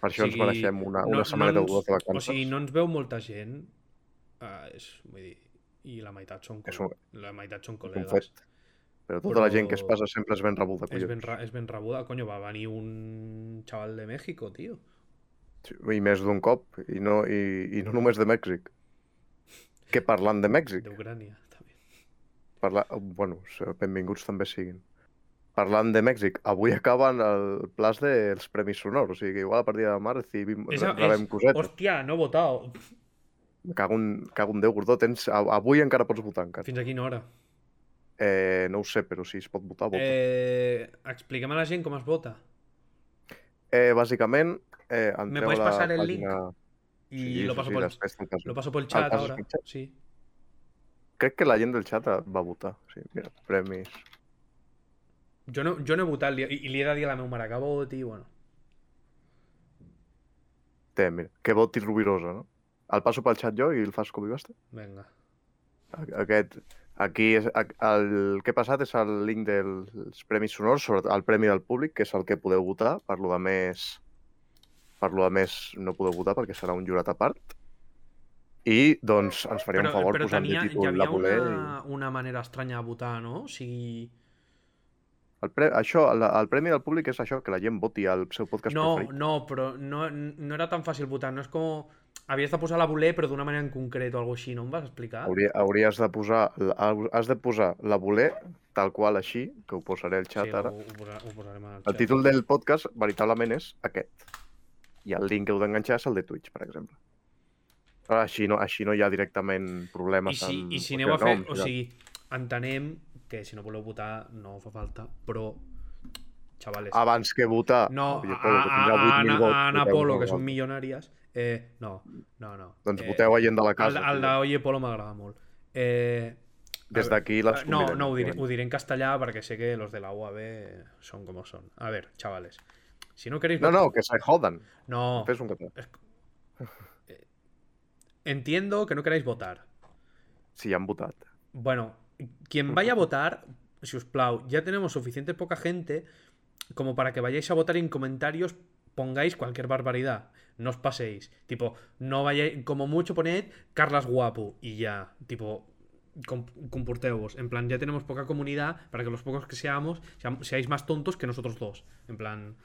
Speaker 2: Per això
Speaker 1: O
Speaker 2: ens
Speaker 1: sigui,
Speaker 2: mereixem una,
Speaker 1: no
Speaker 2: una setmaneta o
Speaker 1: ens-
Speaker 2: dues de vacances.
Speaker 1: O sigui, no ens veu molta gent, Ah, és, vull dir, i la meitat són,
Speaker 2: És
Speaker 1: col- la meitat són col·legues.
Speaker 2: Però tota la gent que es
Speaker 1: Però-
Speaker 2: passa sempre és ben rebuda,
Speaker 1: És ben,
Speaker 2: collons.
Speaker 1: ra- és ben rebuda, coño, va venir un xaval de México, tio.
Speaker 2: Sí, I més d'un cop, i no, i, i no només de Mèxic. Que parlant de Mèxic,
Speaker 1: D'Ucrània, també.
Speaker 2: parla... bueno, s- benvinguts també siguin. Parlant de Mèxic, avui acaben el plaç dels Premis Sonors, o sigui que igual a partir de demà recibim,
Speaker 1: Esa-
Speaker 2: rebem
Speaker 1: és-
Speaker 2: cosetes.
Speaker 1: Hòstia, no he votat.
Speaker 2: Me Cago en, cago en Déu, Gordó, tens... a- Avui encara pots votar, encara.
Speaker 1: Fins a quina hora?
Speaker 2: Eh, no ho sé, però si es pot votar, vota. Eh...
Speaker 1: Eh, expliquem a la gent com es vota.
Speaker 2: Eh, bàsicament, eh, entreu
Speaker 1: puedes
Speaker 2: a la
Speaker 1: pasar el link?
Speaker 2: pàgina...
Speaker 1: I lo, paso
Speaker 2: sí,
Speaker 1: por,
Speaker 2: després te'n passo.
Speaker 1: lo paso por el
Speaker 2: Ah,
Speaker 1: chat
Speaker 2: passes
Speaker 1: ahora.
Speaker 2: pel chat.
Speaker 1: Sí.
Speaker 2: Crec que la gent del xat va votar. Sí, mira, premis.
Speaker 1: Jo no, jo no he votat li- i, i li he de dir a la meva mare que voti, bueno.
Speaker 2: Té, mira, que voti Rubirosa, no? El passo pel xat jo i el fas com i basta.
Speaker 1: Vinga.
Speaker 2: A- Aquest, aquí, és, a- el que ha passat és el link dels Premis Sonors, sobretot el Premi del Públic, que és el que podeu votar. Per lo de més, per lo de més no podeu votar perquè serà un jurat a part. I, doncs, ens faria un favor posant-li
Speaker 1: tenia, hi
Speaker 2: títol la
Speaker 1: havia
Speaker 2: voler.
Speaker 1: una, una manera estranya de votar, no? O sigui...
Speaker 2: I... El, pre... això, la, el Premi del Públic és això, que la gent voti al seu podcast
Speaker 1: No,
Speaker 2: preferit.
Speaker 1: no, però no, no era tan fàcil votar. No és com... Havies de posar la voler, però d'una manera en concret o alguna així, no em vas explicar?
Speaker 2: Hauria, hauries de posar, la- has de posar la voler tal qual així, que ho posaré al xat
Speaker 1: sí,
Speaker 2: sí, ara.
Speaker 1: Ho, ho, posa- ho posarem al
Speaker 2: El
Speaker 1: xat.
Speaker 2: títol del podcast veritablement és aquest. I el link que heu d'enganxar és el de Twitch, per exemple. Però així no, així no hi ha directament
Speaker 1: I
Speaker 2: problemes
Speaker 1: si,
Speaker 2: amb...
Speaker 1: I si
Speaker 2: perquè
Speaker 1: aneu a fer...
Speaker 2: no,
Speaker 1: O sigui, entenem que si no voleu votar no fa falta, però... Xavales...
Speaker 2: Abans que votar...
Speaker 1: No,
Speaker 2: Javier
Speaker 1: a,
Speaker 2: Polo, Ah, que tindrà
Speaker 1: a, a,
Speaker 2: 8.000
Speaker 1: Ana-
Speaker 2: vots,
Speaker 1: a Ana
Speaker 2: voteu
Speaker 1: Polo, que
Speaker 2: vosaltres.
Speaker 1: són milionàries, eh, no, no, no.
Speaker 2: Doncs
Speaker 1: eh,
Speaker 2: voteu a gent de la
Speaker 1: El,
Speaker 2: casa.
Speaker 1: el de Oye Polo m'agrada molt. Eh, a
Speaker 2: Des
Speaker 1: ver,
Speaker 2: d'aquí les
Speaker 1: eh, No,
Speaker 2: convidem,
Speaker 1: no, ho diré,
Speaker 2: obviamente.
Speaker 1: ho diré en castellà perquè sé que los de la UAB son como son. A ver, chavales, si no queréis...
Speaker 2: No,
Speaker 1: votar-
Speaker 2: no, que se jodan.
Speaker 1: no.
Speaker 2: Fes un català.
Speaker 1: Entiendo que no queráis votar.
Speaker 2: Si han votat.
Speaker 1: Bueno, quien vaya a votar, si os plau, ya tenemos suficiente poca gente como para que vayáis a votar y en comentarios pongáis cualquier barbaridad. No os paséis. Tipo, no vayáis. Como mucho poned Carlas Guapo y ya. Tipo, com- comporteos. En plan, ya tenemos poca comunidad para que los pocos que seamos seam- seáis más tontos que nosotros dos. En plan,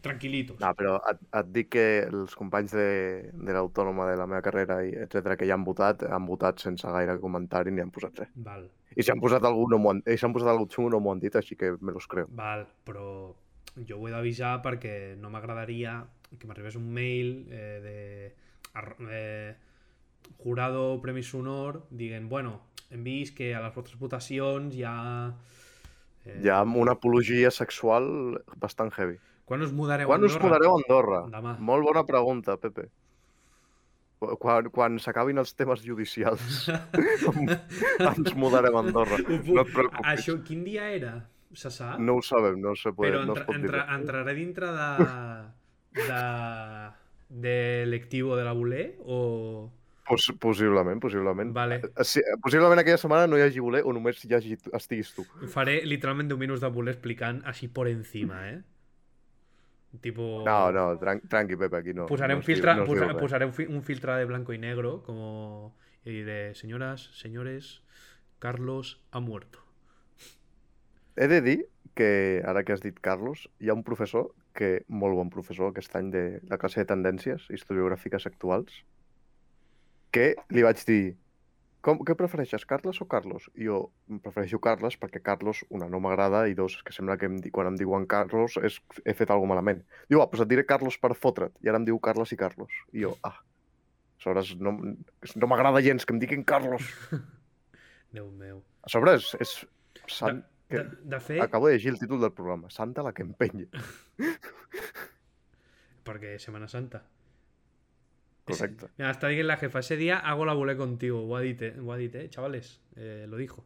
Speaker 1: tranquilitos.
Speaker 2: No, però et, et dic que els companys de, de l'autònoma de la meva carrera, i etc que ja han votat, han votat sense gaire comentari ni han posat res.
Speaker 1: Val,
Speaker 2: I si han posat algú no m'ho han, i si han posat algú xungo no m'ho han dit, així que me los creo.
Speaker 1: val, pero yo voy a avisar porque no me agradaría que me arribes un mail eh, de arro- eh, jurado premis honor, diguen, bueno, hem vist que a les vostres votacions hi ha... Eh, Eh,
Speaker 2: Hi ha una apologia sexual bastant heavy.
Speaker 1: Quan us mudareu
Speaker 2: Quan
Speaker 1: a
Speaker 2: us mudareu a Andorra?
Speaker 1: Demà.
Speaker 2: Molt bona pregunta, Pepe. Qu- Quan, quan s'acabin els temes
Speaker 1: *laughs*
Speaker 2: judicials, ens mudarem a Andorra.
Speaker 1: Ho puc-
Speaker 2: No et preocupis.
Speaker 1: Això, quin dia era? Se sap?
Speaker 2: No ho sabem, no, se puede,
Speaker 1: Però
Speaker 2: no es
Speaker 1: entra,
Speaker 2: pot dir.
Speaker 1: entra,
Speaker 2: res.
Speaker 1: entraré dintre
Speaker 2: *laughs*
Speaker 1: de... de de lectiu de la Voler o...
Speaker 2: Pos, possiblement, possiblement. Eh,
Speaker 1: Vale.
Speaker 2: Sí, possiblement aquella setmana no hi hagi voler o només hi hagi, estiguis
Speaker 1: Oh.
Speaker 2: tu.
Speaker 1: Faré literalmente un minus de bull explicant així por encima, eh? Tipo...
Speaker 2: No, no, tran tranqui, Pepe, aquí no.
Speaker 1: Posaré,
Speaker 2: no
Speaker 1: un,
Speaker 2: es diu-
Speaker 1: filtre,
Speaker 2: no es diu
Speaker 1: posa-
Speaker 2: res.
Speaker 1: posaré un, fi- un filtre de blanco y negro como... Y diré, señoras, señores, Carlos ha muerto.
Speaker 2: He de dir que, ara que has dit Carlos, hi ha un professor que, molt bon professor aquest any de la classe de tendències historiogràfiques actuals, que li vaig dir com, què prefereixes, Carles o Carlos? I jo "Mm, prefereixo Carles perquè Carlos, una, no m'agrada i dos, és que sembla que em, di- quan em diuen Carlos és, he fet alguna malament. Diu, ah, doncs et diré Carlos per fotre't. I ara em diu Carles i Carlos. I jo, ah, aleshores no, m- no m'agrada gens que em diguin Carlos.
Speaker 1: Déu meu.
Speaker 2: A sobre és, és
Speaker 1: De,
Speaker 2: sant, que-
Speaker 1: de, de fet,
Speaker 2: Acabo de llegir el títol del programa. Santa la que empenya.
Speaker 1: porque Semana Santa. Ese-
Speaker 2: Correcto.
Speaker 1: Mira, hasta dient la jefa, ese día hago la bulé contigo, guadite, guadite, eh, chavales, eh, lo dijo.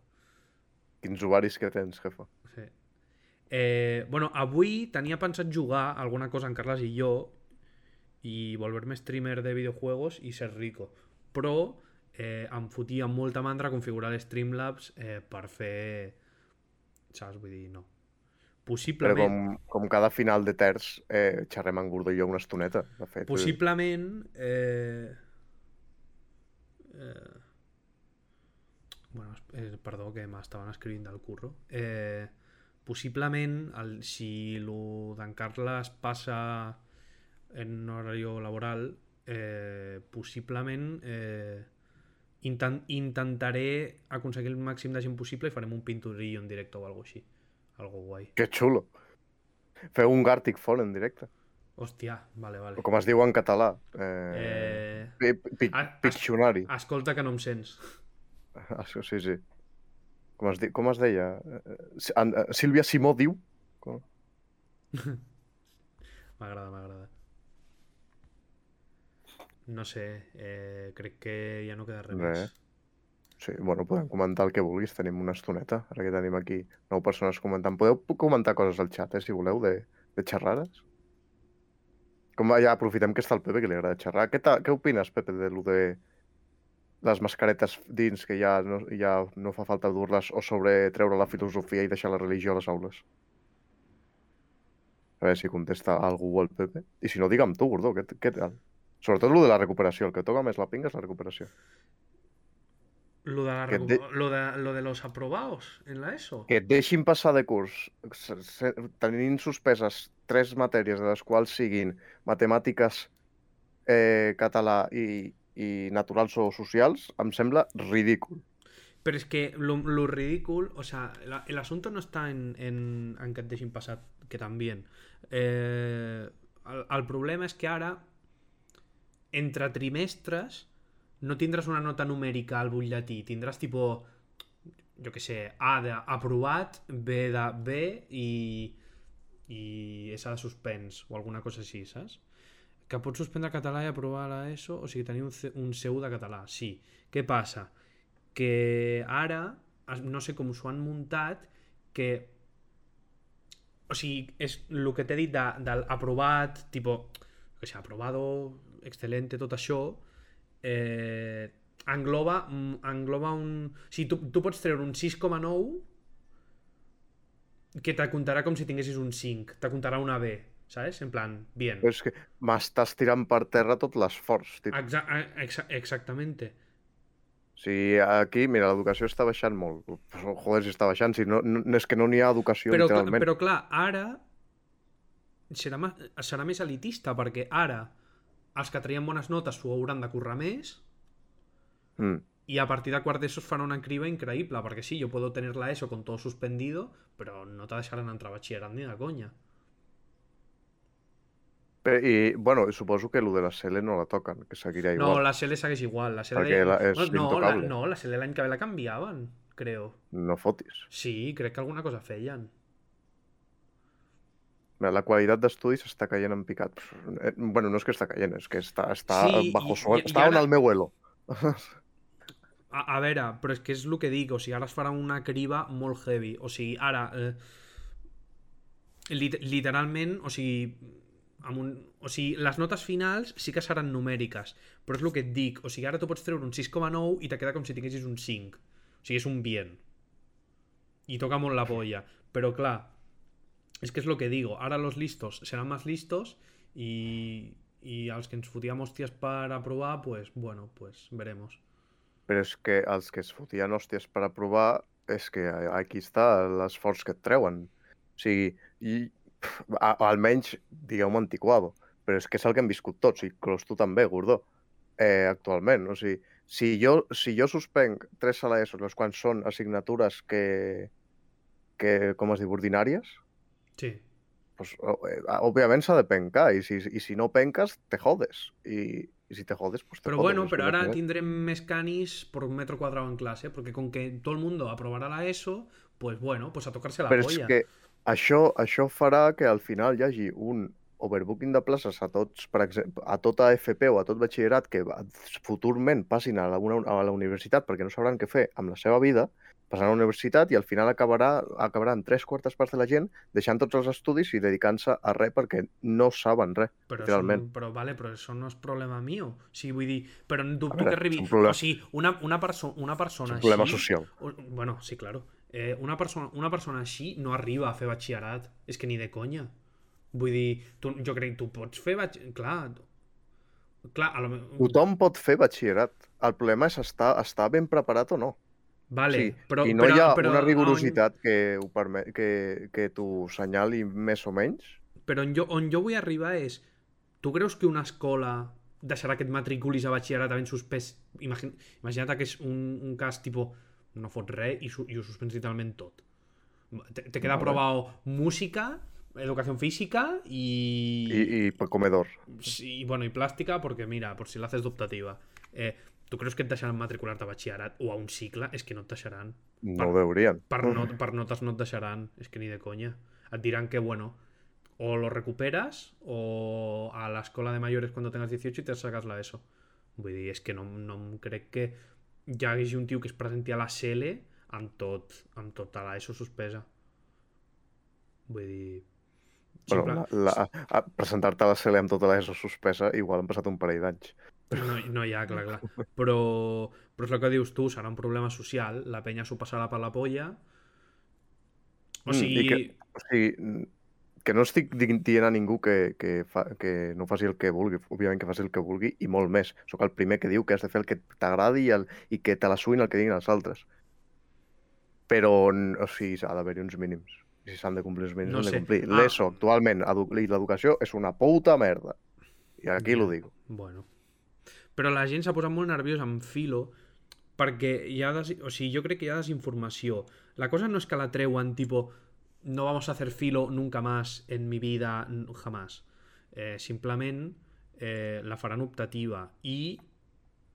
Speaker 2: Quins ovaris que tens, jefa.
Speaker 1: Sí. Eh, bueno, avui tenia pensat jugar alguna cosa en Carles i jo i volver-me streamer de videojuegos i ser rico. Però eh, em fotia molta mandra configurar el Streamlabs eh, per fer... Saps? Vull dir, no.
Speaker 2: Però
Speaker 1: Possiblement,
Speaker 2: com, com cada final de terç eh, xerrem amb Gordo i jo una estoneta, de fet.
Speaker 1: possiblement eh, eh, eh, perdó, que m'estaven escrivint del curro, eh, possiblement, el, si lo d'en Carles passa en un horari laboral, eh, possiblement eh, intent, intentaré aconseguir el màxim de gent possible i farem un pinturillo en directe o alguna així. Algo guai.
Speaker 2: Que xulo. Feu un Gartic Phone en directe.
Speaker 1: Hòstia, vale, vale.
Speaker 2: O com es diu en català. Eh...
Speaker 1: Eh,
Speaker 2: pi- pi-
Speaker 1: Ah,
Speaker 2: Piccionari.
Speaker 1: escolta que no em sens.
Speaker 2: Ah, sí, sí, sí. Com es, di... com es deia? Eh, eh, en- eh, Sílvia Simó diu... Com?
Speaker 1: M'agrada, m'agrada. No sé, eh, crec que ja no queda res
Speaker 2: Res.
Speaker 1: més.
Speaker 2: Sí, bueno, podem comentar el que vulguis. Tenim una estoneta, ara que tenim aquí nou persones comentant. Podeu comentar coses al xat, eh, si voleu, de, de xerrades. Com ja aprofitem que està el Pepe, que li agrada xerrar. Què, ta- què opines, Pepe, de lo de les mascaretes dins, que ja no, ja no fa falta dur-les, o sobre treure la filosofia i deixar la religió a les aules? A veure si contesta algú al Pepe. I si no, digue'm tu, Gordó, què, què tal? Sobretot lo de la recuperació, el que toca més la pinga és la recuperació.
Speaker 1: Lo de, la
Speaker 2: Que
Speaker 1: recu-
Speaker 2: de-
Speaker 1: lo, de, lo de los aprobados en la ESO.
Speaker 2: que et deixin passar de curs se- se- tenint suspeses tres matèries de les quals siguin matemàtiques, eh, català i, i naturals o socials, em sembla ridícul.
Speaker 1: Pero es que lo, lo ridículo, o sea, la- el asunto no está en, en, en que et deixin passar, que también. Eh, el, el problema és que ara, entre trimestres, no tindràs una nota numèrica al butlletí, tindràs tipo, jo que sé, A d'aprovat, B de B i, i S de suspens o alguna cosa així, saps? Que pots suspendre català i aprovar a ESO, o sigui, tenir un, C, un C1 de català, sí. Què passa? que ara es- no sé com s'ho han muntat que o sigui, és el que t'he dit de, del aprovat, tipo que sé, aprovado, excelente, tot això eh, engloba, mm, engloba un... O sigui, tu, tu pots treure un 6,9 que te comptarà com si tinguessis un 5, te comptarà una B, saps? En plan, bien.
Speaker 2: Però és que m'estàs tirant per terra tot l'esforç. tio.
Speaker 1: Exa exa exactamente.
Speaker 2: O sigui, aquí, mira, l'educació està baixant molt. Però, Joder, si està baixant, si no, no és que no n'hi ha educació,
Speaker 1: però, cl-
Speaker 2: literalment.
Speaker 1: però clar, ara serà, ma- serà més elitista perquè ara els que traien bones notes s'ho hauran de currar més
Speaker 2: Mm.
Speaker 1: y a partir de quart d'ESO es farà una criba increïble perquè sí, yo puedo tener la ESO con todo suspendido però no te deixaran entrar a batxillerat ni de conya
Speaker 2: Però, I, bueno, suposo que el de la CL no la toquen, que seguirà
Speaker 1: no,
Speaker 2: igual.
Speaker 1: la CL segueix igual la CL
Speaker 2: Perquè la- és
Speaker 1: no, la,
Speaker 2: intocable.
Speaker 1: no, la CL l'any que ve la canviaven creo
Speaker 2: No, no fotis.
Speaker 1: sí, crec que alguna cosa feien
Speaker 2: Mira, La qualitat d'estudis està caient en picat. Eh, Bueno, no és que està caient, és que està, està
Speaker 1: Sí,
Speaker 2: sí,
Speaker 1: i-
Speaker 2: bajo suelo.
Speaker 1: i- i
Speaker 2: Està
Speaker 1: ara-
Speaker 2: on el meu elo.
Speaker 1: A, a veure, però és que és el que dic, o sigui, ara es farà una criba molt heavy, o sigui, ara eh, lit literalment, o sigui, amb un, o sigui, les notes finals sí que seran numèriques, però és el que et dic, o sigui, ara tu pots treure un 6,9 i te queda com si tinguessis un 5, o sigui, és un bien, i toca molt la polla, però clar, es que es lo que digo, ahora los listos serán más listos y, y a los que nos fotíamos hostias para probar, pues bueno, pues veremos.
Speaker 2: Però és que els que es fotien hòsties per aprovar és que aquí està l'esforç que et treuen. O sigui, i, pff, a, almenys digueu-me antiquado, però és que és el que hem viscut tots, i Clos tu també, Gordó, eh, actualment. O sigui, si jo, si jo suspenc tres a l'ESO, les quan són assignatures que, que com es diu, ordinàries,
Speaker 1: Sí.
Speaker 2: pues, o- eh, òbviament s'ha de pencar i si, i si no penques, te jodes. I, i si te jodes, pues te
Speaker 1: Pero
Speaker 2: jodes.
Speaker 1: bueno,
Speaker 2: és
Speaker 1: pero
Speaker 2: que no
Speaker 1: ahora
Speaker 2: sé.
Speaker 1: tendré más canis por metro cuadrado en clase, porque con que todo el mundo aprobará la ESO, pues bueno, pues a tocarse la
Speaker 2: Però és
Speaker 1: polla.
Speaker 2: que això, això farà que al final hi hagi un overbooking de places a tots, per exemple, a tota FP o a tot batxillerat que va- futurment passin a la, una, a la universitat perquè no sabran què fer amb la seva vida, passaran a la universitat i al final acabarà, acabaran tres quartes parts de la gent deixant tots els estudis i dedicant-se a res perquè no saben res.
Speaker 1: Però, eso
Speaker 2: literalment.
Speaker 1: no, però vale, però això no és problema meu. O sigui, vull dir, però tu,
Speaker 2: A
Speaker 1: tu
Speaker 2: veure,
Speaker 1: que arribi...
Speaker 2: és un problema-
Speaker 1: O sigui, una, una, perso una
Speaker 2: És
Speaker 1: persona
Speaker 2: un problema
Speaker 1: així...
Speaker 2: social.
Speaker 1: O- Bueno, sí, claro. Eh, una, persona, una persona així no arriba a fer batxillerat. És que ni de conya. Vull dir, tu, jo crec que tu pots fer batxillerat... Clar, clar, a lo... me-
Speaker 2: Tothom pot fer batxillerat. El problema és estar, estar ben preparat o no.
Speaker 1: Vale,
Speaker 2: Sí,
Speaker 1: però,
Speaker 2: I no
Speaker 1: però,
Speaker 2: hi ha
Speaker 1: però,
Speaker 2: una
Speaker 1: on-
Speaker 2: rigorositat que, ho permet, que, que t'ho senyali més o menys.
Speaker 1: Però on jo, on jo vull arribar és... Tu creus que una escola deixarà que et matriculis a batxillerat havent suspès... Imagin... Imagina't que és un, un cas tipo no fot res i, su, i ho suspens literalment tot. Te, te queda
Speaker 2: Vale.
Speaker 1: aprovado música, educación física y...
Speaker 2: I, i per comedor.
Speaker 1: Sí, y bueno, y plástica, porque mira, por si la haces de optativa. Eh, ¿Tú crees que et deixaran matricular-te a batxillerat o a un cicle? És que no et deixaran.
Speaker 2: No
Speaker 1: Per-
Speaker 2: ho deurien.
Speaker 1: Per, no, per notes no et deixaran, és que ni de conya. Et diran que, bueno, o lo recuperas o a la escola de mayores cuando tengas 18 y te sacas la ESO. Vull dir, és que no, no em crec que hi hagués un tio que es presenti a la CL amb, tot, amb tota la ESO suspesa. Vull dir...
Speaker 2: Però
Speaker 1: simple-
Speaker 2: la, la, a presentar-te a la CL amb tota l'ESO suspesa, igual han passat un parell d'anys.
Speaker 1: *laughs* No, no ja, clar, clar. Però, però és el que dius tu, serà un problema social, la penya s'ho passarà per la polla... O
Speaker 2: Mm, i
Speaker 1: sigui...
Speaker 2: que- O sigui, n- que no estic di- dient a ningú que, que, fa, que no faci el que vulgui, òbviament que faci el que vulgui, i molt més. Sóc el primer que diu que has de fer el que t'agradi i, el, i que te la suïn el que diguin els altres. Però, n- o sigui, ha d'haver-hi uns mínims. I Si s'han de complir els mínims,
Speaker 1: No
Speaker 2: no s'han
Speaker 1: sé.
Speaker 2: de complir.
Speaker 1: Ah.
Speaker 2: L'ESO, actualment, edu i l'educació és una puta merda. I aquí
Speaker 1: Ja.
Speaker 2: lo digo.
Speaker 1: Bueno. Però la gent s'ha posat molt nerviosa amb filo perquè hi ha des... o sigui, jo crec que hi ha desinformació. La cosa no és que la treuen tipo no vamos a hacer filo nunca más en mi vida, n- jamás. Eh, simplement eh, la faran optativa i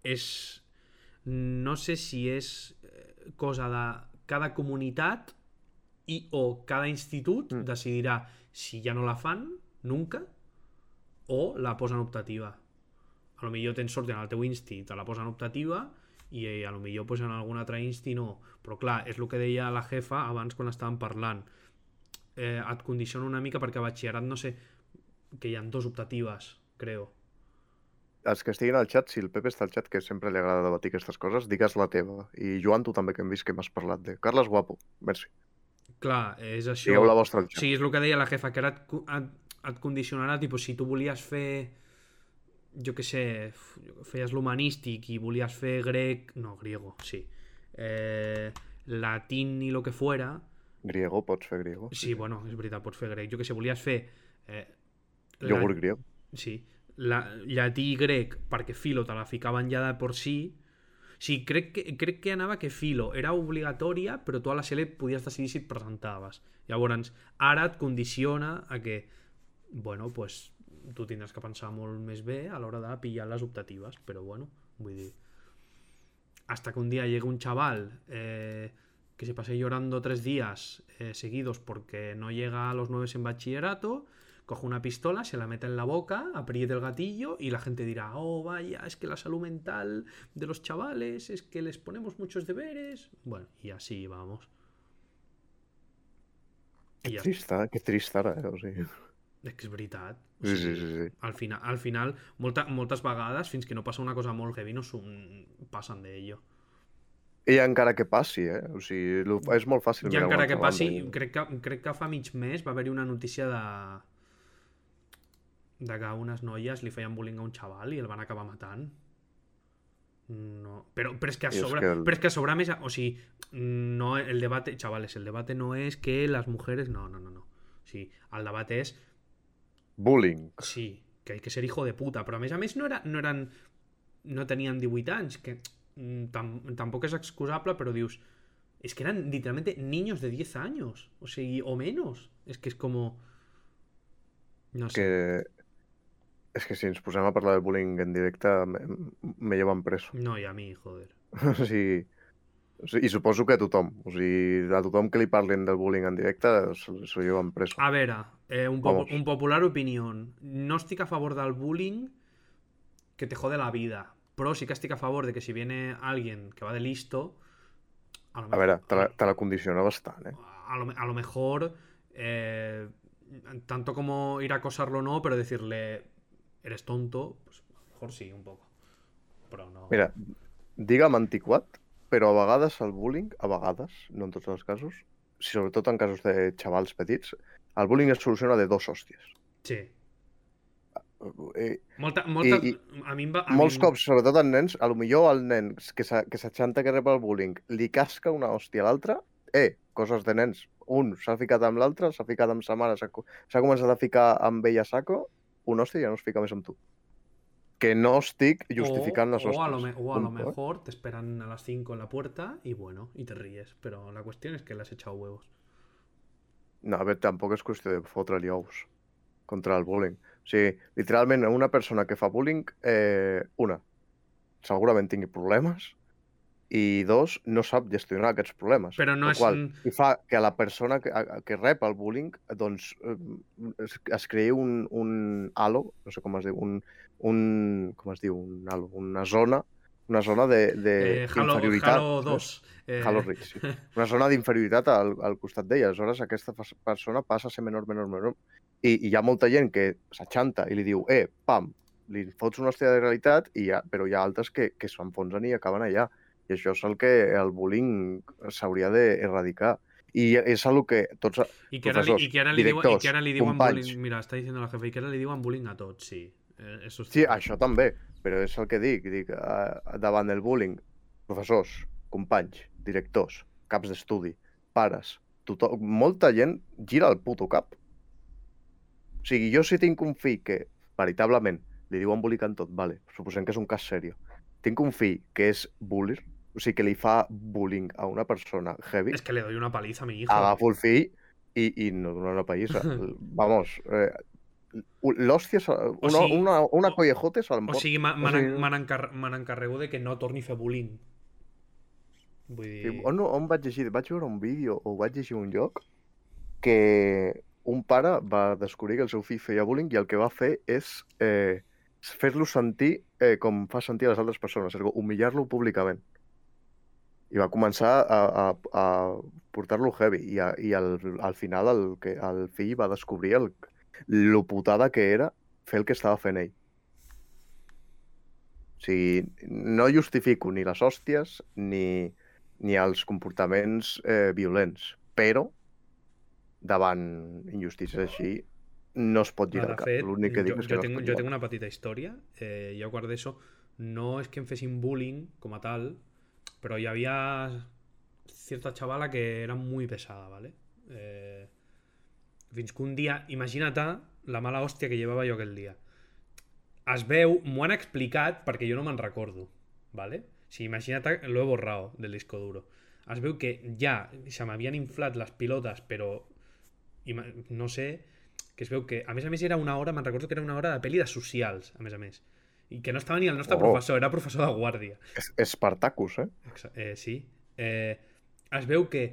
Speaker 1: és no sé si és eh, cosa de cada comunitat i o cada institut
Speaker 2: Mm.
Speaker 1: decidirà si ja no la fan nunca o la posen optativa. A lo millor tens sort en el teu insti, te la posen optativa i eh, a lo millor pues, en algun altre insti no. Però clar, és el que deia la jefa abans quan estàvem parlant. Eh, et condiciona una mica perquè a batxillerat no sé que hi han dos optatives, creo.
Speaker 2: Els que estiguin al xat, si el Pepe està al xat, que sempre li agrada debatir aquestes coses, digues la teva. I Joan, tu també que hem vist que m'has parlat de... Carles Guapo, merci.
Speaker 1: Clar, és això.
Speaker 2: Digueu la vostra al xat.
Speaker 1: Sí, és el que deia la jefa, que ara et, co- et, et condicionarà, tipo, si tu volies fer, jo que sé, f- jo que- feies l'humanístic i volies fer grec, no, griego, sí, eh, latín i lo que fuera,
Speaker 2: Griego, pots fer griego.
Speaker 1: sí, bueno, és veritat, pots fer grec, jo que sé, volies fer... Eh,
Speaker 2: Iogurt griego.
Speaker 1: Sí, la, llatí i grec, perquè Filo te la ficaven ja de por sí. Sí, crec que, crec que anava que Filo era obligatòria, però tu a la CL podies decidir si et presentaves. Llavors, ara et condiciona a que, bueno, pues, tu tindràs que pensar molt més bé a l'hora de pillar les optatives, però bueno, vull dir... Hasta que un día llegue un chaval eh, que se pase llorando tres días eh, seguidos porque no llega a los nueve en bachillerato, coge una pistola, se la mete en la boca, apriete el gatillo y la gente dirá, oh, vaya, es que la salud mental de los chavales, es que les ponemos muchos deberes. Bueno, y así vamos. I ja,
Speaker 2: Trista, que trista ara, eh? O sigui,
Speaker 1: és que és veritat. O
Speaker 2: sí, sí,
Speaker 1: sigui,
Speaker 2: sí, sí.
Speaker 1: Al final, al final molta, moltes vegades, fins que no passa una cosa molt heavy, no s'ho- passen d'ello.
Speaker 2: I encara que passi, eh? O sigui, lo- és molt fàcil.
Speaker 1: I
Speaker 2: mirar a una
Speaker 1: encara que
Speaker 2: altra
Speaker 1: passi,
Speaker 2: banda.
Speaker 1: crec que, crec que fa mig mes va haver-hi una notícia de de que unes noies li feien bullying a un xaval i el van acabar matant. No, però, però és que a
Speaker 2: I és
Speaker 1: sobre,
Speaker 2: que el-
Speaker 1: però és que a sobre més, o sigui, no, el debate, chavales, el debate no es que las mujeres, no, no, no, no. O sigui, el debat és
Speaker 2: Bullying.
Speaker 1: Sí, que hay que ser hijo de puta, però a més a més no, era, no eren... no tenien 18 anys, que mm, tam, tampoc és excusable, però dius, és que eren literalmente niños de 10 años, o sigui, o menos, és que és com... No sé,
Speaker 2: Que... És que si ens posem a parlar de bullying en directe, me, me llevan preso. *laughs*
Speaker 1: no, i a mi, joder.
Speaker 2: O sigui... o sigui, I suposo que a tothom. O sigui, a tothom que li parlin del bullying en directe, se, se llevan preso.
Speaker 1: A veure, eh, un, popu-
Speaker 2: Vamos.
Speaker 1: un popular opinió. No estic a favor del bullying que te jode la vida, però sí que estic a favor de que si viene alguien que va de listo... A, lo
Speaker 2: A
Speaker 1: mejor-
Speaker 2: veure, te la, te la condiciona bastant, eh?
Speaker 1: a lo, a lo mejor, eh, tanto como ir a acosarlo no, pero decirle, eres tonto, pues a lo mejor sí, un poco. Pero no.
Speaker 2: Mira, digue'm antiquat, però a vegades el bullying, a vegades, no en tots els casos, si sobretot en casos de xavals petits, el bullying es soluciona de dos hòsties.
Speaker 1: Sí,
Speaker 2: Eh,
Speaker 1: Molta, molta,
Speaker 2: I-
Speaker 1: a mi em va... A
Speaker 2: molts
Speaker 1: mi em-
Speaker 2: cops, sobretot en nens, a lo millor el nen que s'ha- que s'aixanta que rep el bullying li casca una hòstia a l'altre, eh, coses de nens. Un s'ha ficat amb l'altre, s'ha ficat amb sa mare, s'ha co- s'ha començat a ficar amb ella saco, un hòstia ja no es fica més amb tu. Que no estic justificant
Speaker 1: o,
Speaker 2: les
Speaker 1: o a, lo,
Speaker 2: hòsties.
Speaker 1: me- o a lo
Speaker 2: Punto, eh.
Speaker 1: mejor te esperan a las 5 en la puerta y bueno, y te ríes. Pero la cuestión es que le has echado huevos.
Speaker 2: No, a veure, tampoc és qüestió de fotre-li ous contra el bullying. O sigui, literalment, a una persona que fa bullying, eh, una, segurament tingui problemes, i dos, no sap gestionar aquests problemes.
Speaker 1: Però no
Speaker 2: Lo
Speaker 1: és un-
Speaker 2: I fa que la persona que, a- que rep el bullying, doncs, eh, es, es creï un, un halo, no sé com es diu, un, un, com es diu, un halo, una zona, una zona de, de
Speaker 1: Eh, Halo,
Speaker 2: inferioritat.
Speaker 1: Halo
Speaker 2: saps?
Speaker 1: 2. Eh,
Speaker 2: Halo Reach, sí. Una zona d'inferioritat al, al costat d'ella. Aleshores, aquesta fas- persona passa a ser menor, menor, menor. I, i hi ha molta gent que s'aixanta i li diu, eh, pam, li fots una hòstia de realitat, i hi ha, però hi ha altres que, que s'enfonsen i acaben allà. I això és el que el bullying s'hauria d'erradicar. I és el que tots...
Speaker 1: I que, ara li,
Speaker 2: Professors,
Speaker 1: i que ara li diuen, i
Speaker 2: directors,
Speaker 1: que ara li diuen
Speaker 2: companys.
Speaker 1: bullying... Mira, està diciendo la jefe, i que ara li diuen bullying a tots, sí. Eh, eso
Speaker 2: Sí,
Speaker 1: está.
Speaker 2: això també, però és el que dic. dic eh, davant del bullying, professors, companys, directors, caps d'estudi, pares, tothom, molta gent gira el puto cap. O sigui, jo si tinc un fill que, veritablement, li diu embolicant tot, vale, suposem que és un cas seriós. Tinc un fill que és bullying, o sigui, que li fa bullying a una persona heavy,
Speaker 1: Es que le doy una paliza a mi hijo.
Speaker 2: agafo el fill i, i no dono una pallissa.
Speaker 1: *laughs*
Speaker 2: Vamos, eh, l'hòstia, se- una,
Speaker 1: sigui-
Speaker 2: una, una
Speaker 1: o-
Speaker 2: collejote se'l
Speaker 1: O
Speaker 2: pot
Speaker 1: sigui, me, me,
Speaker 2: o sigui-
Speaker 1: n'en- me n'encar- me n'encarrego de que no torni a fer bullying. Vull dir...
Speaker 2: Sí, on, on vaig llegir? Vaig veure un vídeo o vaig llegir un lloc que un pare va descobrir que el seu fill feia bullying i el que va fer és eh, fer-lo sentir eh, com fa sentir a les altres persones, ergo, humillar-lo públicament. I va començar a, a, a portar-lo heavy i, a, i al, al final el, que, el fill va descobrir el, lo putada que era fer el que estava fent ell. O sigui, no justifico ni les hòsties ni, ni els comportaments eh, violents, però davant injustícies així no es
Speaker 1: Nada,
Speaker 2: pot girar el cap.
Speaker 1: Fed,
Speaker 2: L'únic que dic
Speaker 1: yo,
Speaker 2: és
Speaker 1: yo
Speaker 2: que no es
Speaker 1: tengo,
Speaker 2: pot
Speaker 1: yo
Speaker 2: girar.
Speaker 1: tengo una patita historia. eh, yo guardé eso. No es que empecé sin bullying como tal, pero ya había cierta chavala que era muy pesada, ¿vale? Eh, fins que un día, imagínate la mala hostia que llevaba yo aquel día. Es veu, m'ho han explicat perquè jo no me'n recordo, ¿vale? Si imagina't, lo he borrado del disco duro. Es veu que ja se m'havien inflat les pilotes, però ima- no sé, que es veu que, a més a més, era una hora, me'n recordo que era una hora de pel·li de socials, a més a més. I que no estava ni el nostre
Speaker 2: Oh.
Speaker 1: professor, era professor de guàrdia.
Speaker 2: És, Espartacus, eh?
Speaker 1: Exa- Eh, sí. Eh, es veu que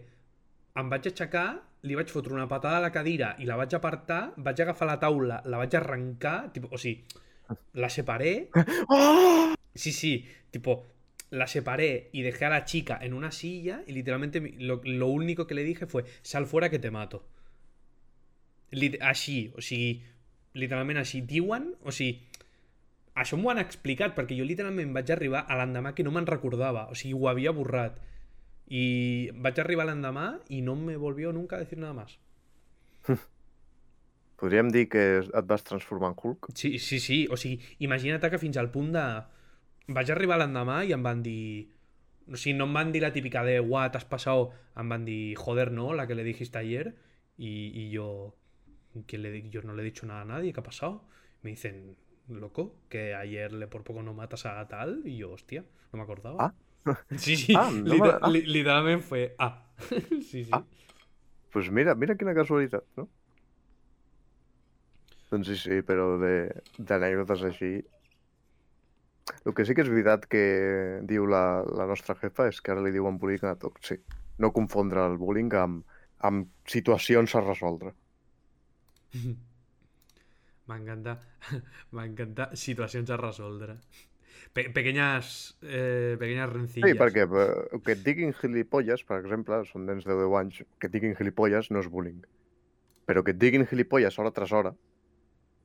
Speaker 1: em vaig aixecar, li vaig fotre una patada a la cadira i la vaig apartar, vaig agafar la taula, la vaig arrencar, tipo, o sigui, la separé,
Speaker 2: Oh!
Speaker 1: sí, sí, tipo, la separé y dejé a la chica en una silla y literalmente mi- lo, lo único que le dije fue, sal fuera que te mato. Lit- així, o sigui, literalment així. Diuen, o sigui, això m'ho han explicat perquè jo literalment vaig arribar a l'endemà que no me'n recordava, o sigui, ho havia borrat. I vaig arribar l'endemà i no me volvió nunca a decir nada más.
Speaker 2: Podríem dir que et vas transformar en Hulk?
Speaker 1: Sí, sí, sí. O sigui, imagina't que fins al punt de... Vaig arribar l'endemà i em van dir... O sigui, no em van dir la típica de «Guau, t'has passat». Em van dir «Joder, no, la que le dijiste ayer». Y, y yo... Que le, di- yo no le he dicho nada a nadie, ¿qué ha pasado? Me dicen, loco, que ayer le por poco no matas a tal. Y yo, hostia, no me acordaba. Sí, sí,
Speaker 2: *laughs* Ah, no
Speaker 1: liter-
Speaker 2: me- ah.
Speaker 1: li- literalmente fue ah. *laughs* sí, sí.
Speaker 2: Ah. Pues mira, mira quina casualitat, no? Doncs sí, sí, però de- d'anècdotes així... El que sí que és veritat que diu la, la nostra jefa és que ara li diuen bullying a tot, sí. No confondre el bullying amb, amb situacions a resoldre.
Speaker 1: M'encanta, *laughs* m'encanta situacions a resoldre. Pe pequeñas, eh, pequeñas rencillas.
Speaker 2: Sí, perquè eh, que et diguin gilipolles, per exemple, són nens de 10 anys, que et diguin gilipolles no és bullying. Però que et diguin gilipolles hora tras hora,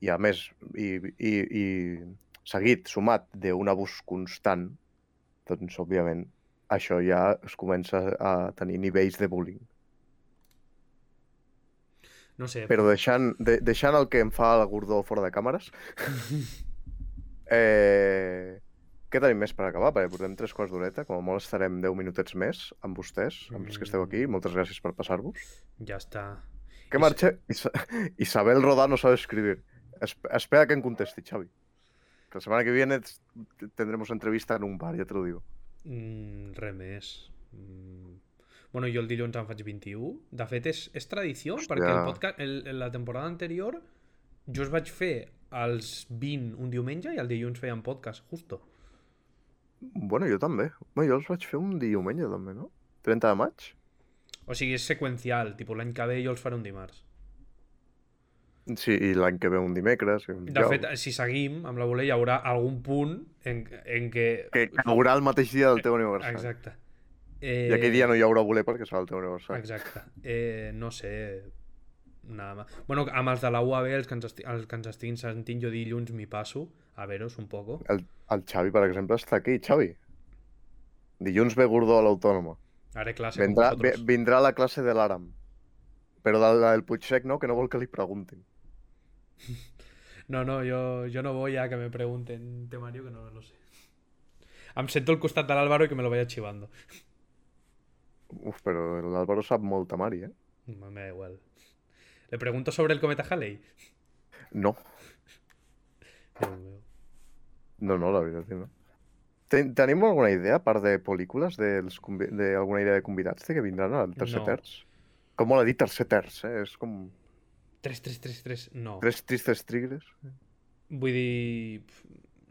Speaker 2: i a més, i, i, i seguit, sumat d'un abús constant, doncs, òbviament, això ja es comença a tenir nivells de bullying.
Speaker 1: No sé.
Speaker 2: Però deixant, de, deixant el que em fa el gordó fora de càmeres... eh, què tenim més per acabar? Perquè portem tres quarts d'horeta, com a molt estarem 10 minutets més amb vostès, amb els que esteu aquí. Moltes gràcies per passar-vos.
Speaker 1: Ya está.
Speaker 2: Que
Speaker 1: Is-
Speaker 2: marxe... Isa- Isabel Rodà no sabe escribir. Es- espera que em contesti, Xavi. Que la semana que viene t- tendremos entrevista en un bar, ja te lo digo.
Speaker 1: Mm, res més. Mm. Bueno, jo el dilluns en faig 21. De fet, és, és tradició,
Speaker 2: Hòstia.
Speaker 1: perquè el podcast, el, el- la temporada anterior jo es vaig fer als 20 un diumenge i el dilluns feien podcast, justo.
Speaker 2: Bueno, jo també. Bueno, jo els vaig fer un diumenge, també, no? 30 de maig?
Speaker 1: O sigui, és seqüencial, tipus l'any que ve jo els faré un dimarts.
Speaker 2: Sí, i l'any que ve un dimecres. i Un
Speaker 1: De
Speaker 2: dijous.
Speaker 1: fet, si seguim amb la bola hi haurà algun punt en, en què...
Speaker 2: que caurà el mateix dia del teu aniversari.
Speaker 1: Exacte.
Speaker 2: I
Speaker 1: Eh,
Speaker 2: aquell dia no hi haurà voler perquè serà el teu aniversari.
Speaker 1: Exacte. Eh, no sé... Nada más. Bueno, amb els de la UAB, els que ens, esti els que ens estiguin sentint, jo dilluns m'hi passo, a veros un poco.
Speaker 2: El, el Xavi, per exemple, està aquí. Xavi, dilluns ve Gordó a l'Autònoma.
Speaker 1: Haré classe
Speaker 2: Vendrà,
Speaker 1: com
Speaker 2: ve,
Speaker 1: vosaltres.
Speaker 2: vindrà a la classe de l'Àram. Però de la del Puigsec no, que no vol que li preguntin.
Speaker 1: No, no, jo, jo no voy a que me pregunten temario que no lo sé. Em sento al costat de l'Álvaro i que me lo vaya chivando.
Speaker 2: Uf, però l'Àlvaro sap molt temari, eh?
Speaker 1: Me me da igual. Le pregunto sobre el cometa Halley.
Speaker 2: No,
Speaker 1: Déu meu.
Speaker 2: no, no, la veritat, és que no. Ten Tenim alguna idea, a part de pel·lícules, dels convi- de alguna idea de convidats de que vindran al tercer
Speaker 1: No.
Speaker 2: terç? Com mola dir tercer terç, eh? És com
Speaker 1: 3333, no.
Speaker 2: tres tristes trigres
Speaker 1: Vull dir... pf,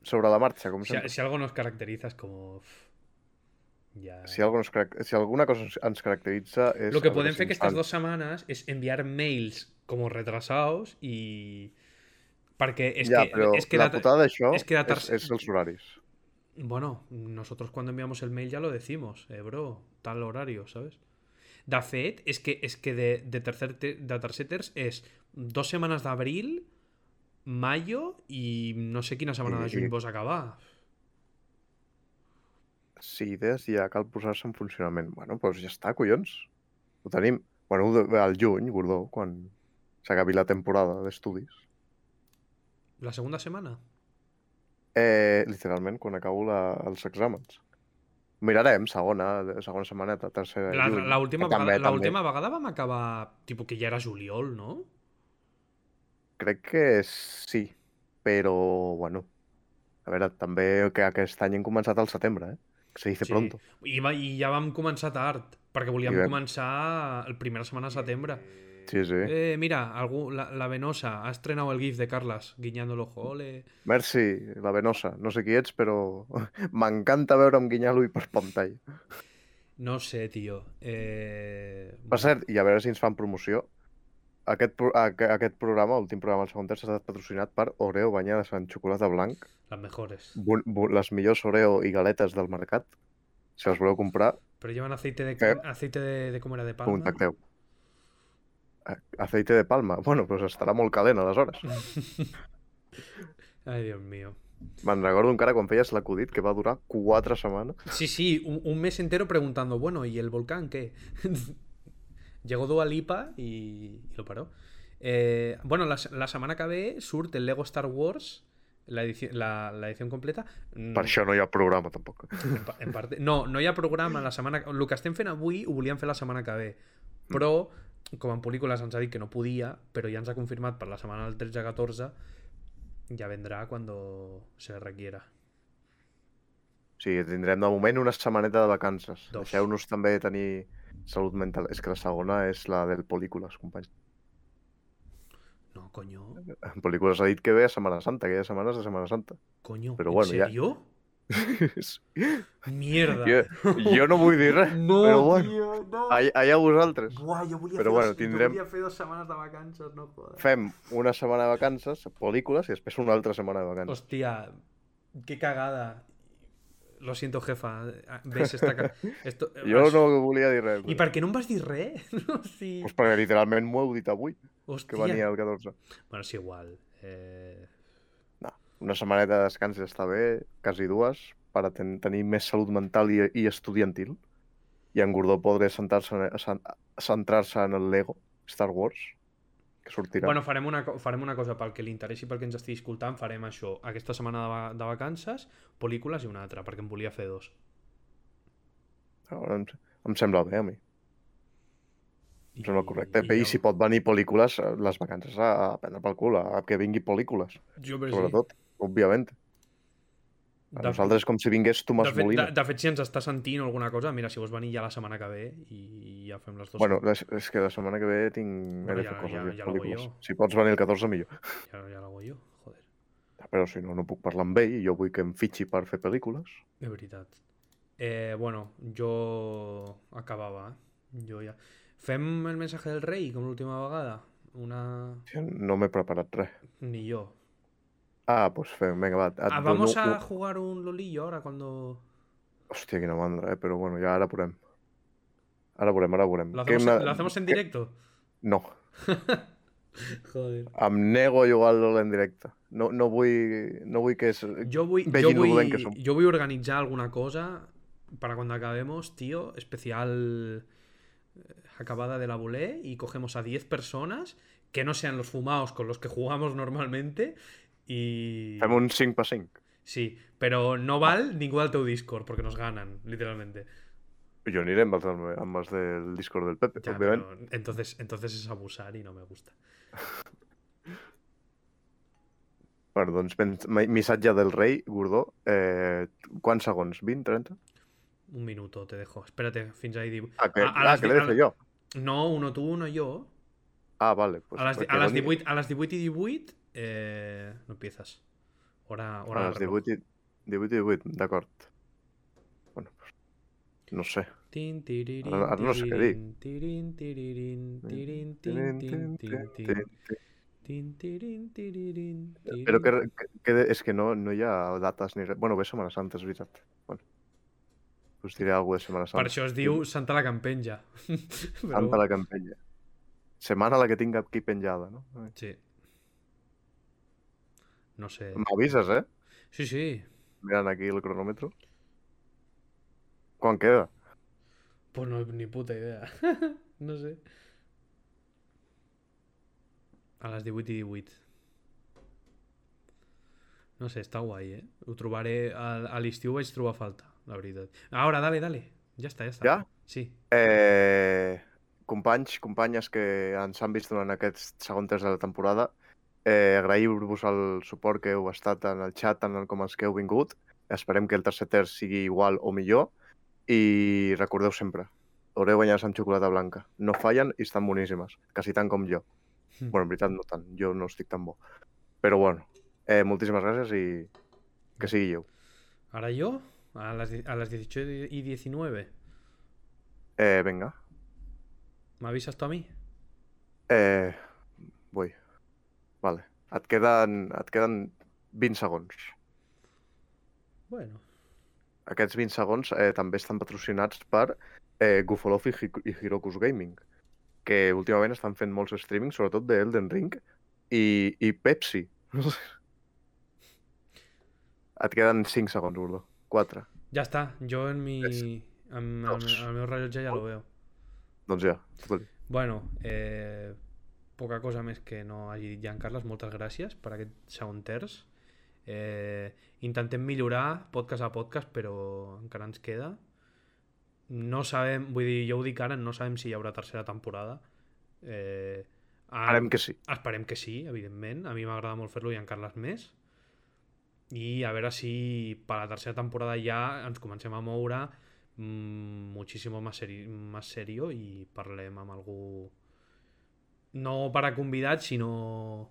Speaker 2: sobre la marxa, com
Speaker 1: Si,
Speaker 2: sempre.
Speaker 1: si algo nos caracteriza es como... pf, Ya...
Speaker 2: Si, algo nos carac- si alguna cosa ens- ens caracteritza és...
Speaker 1: Lo que
Speaker 2: a
Speaker 1: pueden
Speaker 2: veure si
Speaker 1: hacer que
Speaker 2: ens
Speaker 1: estas
Speaker 2: fan-
Speaker 1: dos semanas es enviar mails como retrasados y... Porque es
Speaker 2: ja,
Speaker 1: que,
Speaker 2: però
Speaker 1: es que
Speaker 2: la
Speaker 1: da-
Speaker 2: putada d'això
Speaker 1: és
Speaker 2: és,
Speaker 1: que la
Speaker 2: és,
Speaker 1: tercera-
Speaker 2: els horaris.
Speaker 1: Bueno, nosotros cuando enviamos el mail ya lo decimos, eh, bro, tal horario, ¿sabes? Da fet, es que, es que de, de, tercer te- de terceters es dos semanas de abril, mayo y no sé quina setmana
Speaker 2: I-
Speaker 1: de
Speaker 2: i-
Speaker 1: juny vos acabar.
Speaker 2: Si idees ja cal posar-se en funcionament. Bueno, doncs ja està, collons. Ho tenim. Bueno, ho de- al juny, Gordó, quan s'acabi la temporada d'estudis.
Speaker 1: La segunda semana.
Speaker 2: Eh, literalment, quan acabo la, els exàmens. Mirarem, segona, segona setmaneta, tercera...
Speaker 1: La,
Speaker 2: juny.
Speaker 1: la última,
Speaker 2: Que també-
Speaker 1: vegada, la
Speaker 2: també.
Speaker 1: última vegada vam acabar, tipo, que ja era juliol, no?
Speaker 2: Crec que sí, però bueno. A veure, també que aquest any hem començat al setembre, eh? Que se dice
Speaker 1: Sí.
Speaker 2: pronto.
Speaker 1: I, va, I ja vam començar tard, perquè volíem
Speaker 2: I vam-
Speaker 1: començar el primera setmana de setembre.
Speaker 2: Sí, sí.
Speaker 1: Eh, mira, algú, la, la Venosa ha estrenado el GIF de Carlas guiñando el ojo, ole.
Speaker 2: Merci, la Venosa. No sé qui ets, però *laughs* m'encanta veure'm guinyar l'ull per pantalla.
Speaker 1: No sé, tio. Eh...
Speaker 2: Per cert, i a veure si ens fan promoció, aquest, pro a- aquest programa, l'últim programa del segon terç, ha estat patrocinat per Oreo banyades en xocolata blanc,
Speaker 1: Las mejores.
Speaker 2: bu- bu- les millors Oreo i galetes del mercat. Si les voleu comprar,
Speaker 1: Pero llevan aceite de
Speaker 2: Eh.
Speaker 1: aceite de, de cómo era de palma.
Speaker 2: contacteu. A- Aceite de palma. Bueno, doncs estarà molt calent aleshores.
Speaker 1: Ay, Dios mío.
Speaker 2: Me'n recordo encara quan feies l'acudit, que va durar quatre setmanes.
Speaker 1: Sí, sí, un, un mes entero preguntando, bueno, ¿y el volcán qué? *laughs* Llegó Dua Lipa y, y lo paró. Eh, bueno, la, la semana que ve surte el Lego Star Wars, la edición, la, la edición completa. Mm,
Speaker 2: Per això no hi ha programa, tampoc.
Speaker 1: En, pa- en parte... No, no hi ha programa la setmana... El que estem fent avui ho volíem fer la setmana que ve. Però, com en pel·lícules ens ha dit que no podia, però ja ens ha confirmat per la setmana del 13-14, ja vendrà quan se requiera.
Speaker 2: O sigui, tindrem de moment una setmaneta de vacances.
Speaker 1: Dos.
Speaker 2: Deixeu-nos també tenir salut mental. És que la segona és la del pel·lícules, companys. *laughs*
Speaker 1: No, coño.
Speaker 2: En pel·lícules ha dit que ve a Setmana Santa, que hi ha setmanes de Setmana Santa. *laughs*
Speaker 1: Coño,
Speaker 2: Pero
Speaker 1: ¿en
Speaker 2: bueno, ya-
Speaker 1: serio?
Speaker 2: jo,
Speaker 1: Mierda.
Speaker 2: jo no vull dir res.
Speaker 1: No,
Speaker 2: Pero bueno.
Speaker 1: tío, no.
Speaker 2: Allà, allà vosaltres.
Speaker 1: Buah, jo volia,
Speaker 2: Però
Speaker 1: fer
Speaker 2: bueno,
Speaker 1: dos,
Speaker 2: tindrem-
Speaker 1: jo volia fer dues setmanes de vacances, no jodas.
Speaker 2: Fem una setmana de vacances, pel·lícules, i després una altra setmana de vacances.
Speaker 1: Hostia, qué cagada. Lo siento, jefa. ¿Ves esta
Speaker 2: *laughs*
Speaker 1: ca- Esto...
Speaker 2: Jo no volia dir res.
Speaker 1: I per què no em vas dir res? *laughs* No, sí.
Speaker 2: Pues perquè literalment m'ho heu dit avui, que venia
Speaker 1: Hòstia.
Speaker 2: el 14.
Speaker 1: Bueno, és igual. Eh...
Speaker 2: Una setmaneta de descans ja està bé, quasi dues, per a ten tenir més salut mental i, i estudiantil. I en Gordó podré centrar-se en, cen- centrar-se en el Lego Star Wars. que sortirà.
Speaker 1: Bueno, farem una, co- farem una cosa pel que li interessi, pel que ens estigui escoltant, farem això. Aquesta setmana de, va- de vacances, pel·lícules i una altra, perquè en volia fer dos.
Speaker 2: Ara em, em sembla bé a mi, em sembla correcte.
Speaker 1: I-
Speaker 2: I,
Speaker 1: ja-
Speaker 2: I si pot venir pel·lícules, eh, les vacances a, a prendre pel cul, a, a que vingui pel·lícules,
Speaker 1: Jo, però sí.
Speaker 2: sobretot, òbviament. A
Speaker 1: De-
Speaker 2: nosaltres com si vingués
Speaker 1: De
Speaker 2: Tomàs
Speaker 1: fet, de,
Speaker 2: Molina.
Speaker 1: de fet, si ens està sentint o alguna cosa, mira, si vols venir ja la setmana que ve i ja fem les dues.
Speaker 2: Bueno, és, és que la setmana que ve tinc...
Speaker 1: Bueno,
Speaker 2: he de
Speaker 1: ja-
Speaker 2: fer coses,
Speaker 1: ja-
Speaker 2: i
Speaker 1: ja la vull
Speaker 2: pel·lícules.
Speaker 1: jo.
Speaker 2: Si pots venir el 14, millor.
Speaker 1: ja, ja la hago jo, joder,
Speaker 2: Ah, Però si no, no puc parlar amb ell i jo vull que em fitxi per fer pel·lícules.
Speaker 1: de veritat. Eh, bueno, jo acabava, eh? Jo ja... Fem el mensaje del rei, com l'última vegada? Una...
Speaker 2: No m'he preparat res.
Speaker 1: Ni jo.
Speaker 2: Ah, doncs pues fem, vinga, va. Et
Speaker 1: Ah, vamos
Speaker 2: dono
Speaker 1: a
Speaker 2: un-
Speaker 1: jugar un lolillo ahora cuando...
Speaker 2: Hòstia, quina mandra, eh? Però bueno, ja ara veurem. Ara veurem, ara veurem.
Speaker 1: ¿Lo
Speaker 2: Què
Speaker 1: hacemos,
Speaker 2: m'ha-
Speaker 1: ¿lo hacemos en
Speaker 2: què-
Speaker 1: directo?
Speaker 2: No,
Speaker 1: Joder.
Speaker 2: em nego a jugar al LoL en directe. No, no, vull, no vull que es...
Speaker 1: Yo voy, yo
Speaker 2: Vegin
Speaker 1: voy-
Speaker 2: Rubén, que son-
Speaker 1: yo voy a organizar alguna cosa para cuando acabemos, tío, especial eh, acabada de la bulé y cogemos a 10 personas que no sean los fumados con los que jugamos normalmente y...
Speaker 2: Fem un 5 per 5.
Speaker 1: Sí, pero no val ningún al teu Discord porque nos ganan, literalmente.
Speaker 2: Jo aniré amb els, del me- amb els del Discord del Pepe,
Speaker 1: Ya,
Speaker 2: òbviament.
Speaker 1: pero entonces, entonces es abusar y no me gusta.
Speaker 2: Bueno, doncs ben- mi- missatge del rei, Gordó. Eh, quants segons? 20, 30?
Speaker 1: Un minuto, te dejo. Espérate, fins ahí. diu-
Speaker 2: Ah, que,
Speaker 1: A- a
Speaker 2: ah,
Speaker 1: les
Speaker 2: que
Speaker 1: di-
Speaker 2: l'he
Speaker 1: a-
Speaker 2: de fer jo.
Speaker 1: No, uno tú, uno yo.
Speaker 2: Ah, vale. Pues,
Speaker 1: a, las,
Speaker 2: perquè
Speaker 1: a, las
Speaker 2: doni-
Speaker 1: 18, a las 18 y 18 eh, no empiezas. Hora, hora
Speaker 2: A
Speaker 1: de
Speaker 2: les
Speaker 1: reloj.
Speaker 2: 18 i 18, i 18 d'acord. Bueno, pues, no sé.
Speaker 1: Tin, tirirín,
Speaker 2: Ara- ara no sé què dir.
Speaker 1: tirirín, tirirín, tirirín, tin, tin, tin, tin,
Speaker 2: Però
Speaker 1: tin, tirirín, tirirín, tirirín.
Speaker 2: que, que, que és que no, no hi ha dates ni res. Bueno, ve Setmana Santa, és veritat. Bueno, us diré alguna de Setmana
Speaker 1: Per
Speaker 2: Santa.
Speaker 1: això es diu Santa la Campenja. *laughs* Però
Speaker 2: Santa
Speaker 1: bueno,
Speaker 2: la campella. Setmana la que tinc aquí penjada, no?
Speaker 1: Sí. No sé.
Speaker 2: M'avises, eh?
Speaker 1: Sí, sí.
Speaker 2: Mirant aquí el cronòmetre. Quan queda?
Speaker 1: Pues no, ni puta idea. *laughs* no sé. A les 18 i 18. No sé, està guai, eh? Ho trobaré... A, a l'estiu vaig trobar falta, la veritat. Ara, dale, dale. Ja està, ja està.
Speaker 2: Ja?
Speaker 1: Sí.
Speaker 2: Eh, companys, companyes que ens han vist durant aquest segon test de la temporada, eh, agrair-vos el suport que heu estat en el xat, tant com els que heu vingut. Esperem que el tercer terç sigui igual o millor. I recordeu sempre, haureu guanyades amb xocolata blanca. No fallen i estan boníssimes, quasi tant com jo.
Speaker 1: Mm.
Speaker 2: Bueno, en veritat no tant, jo no estic tan bo. Però bueno, eh, moltíssimes gràcies i que sigui lleu.
Speaker 1: Ara jo? A les, di- a les 18 i 19.
Speaker 2: Eh, vinga,
Speaker 1: M'avises tu a mi?
Speaker 2: Eh, vull. Vale. Et queden, et queden 20 segons.
Speaker 1: Bueno.
Speaker 2: Aquests 20 segons eh, també estan patrocinats per eh, Gufolof i, Hi- i Hirokus Gaming, que últimament estan fent molts streamings, sobretot de Elden Ring i, i Pepsi. *laughs* et queden 5 segons, Gordó. 4.
Speaker 1: Ja està. Jo en mi... En, en,
Speaker 2: dos,
Speaker 1: en el meu rellotge ja lo veo.
Speaker 2: Doncs ja, tot
Speaker 1: Bueno, eh, poca cosa més que no hagi dit Carles, moltes gràcies per aquest segon terç. Eh, intentem millorar podcast a podcast, però encara ens queda. No sabem, vull dir, jo ho dic ara, no sabem si hi haurà tercera temporada. Eh, a-
Speaker 2: Farem que sí.
Speaker 1: Esperem que sí, evidentment. A mi m'agrada molt fer-lo i en Carles més. I a veure si per la tercera temporada ja ens comencem a moure mm, muchísimo más, seri más serio i parlem amb algú no per a convidats, sinó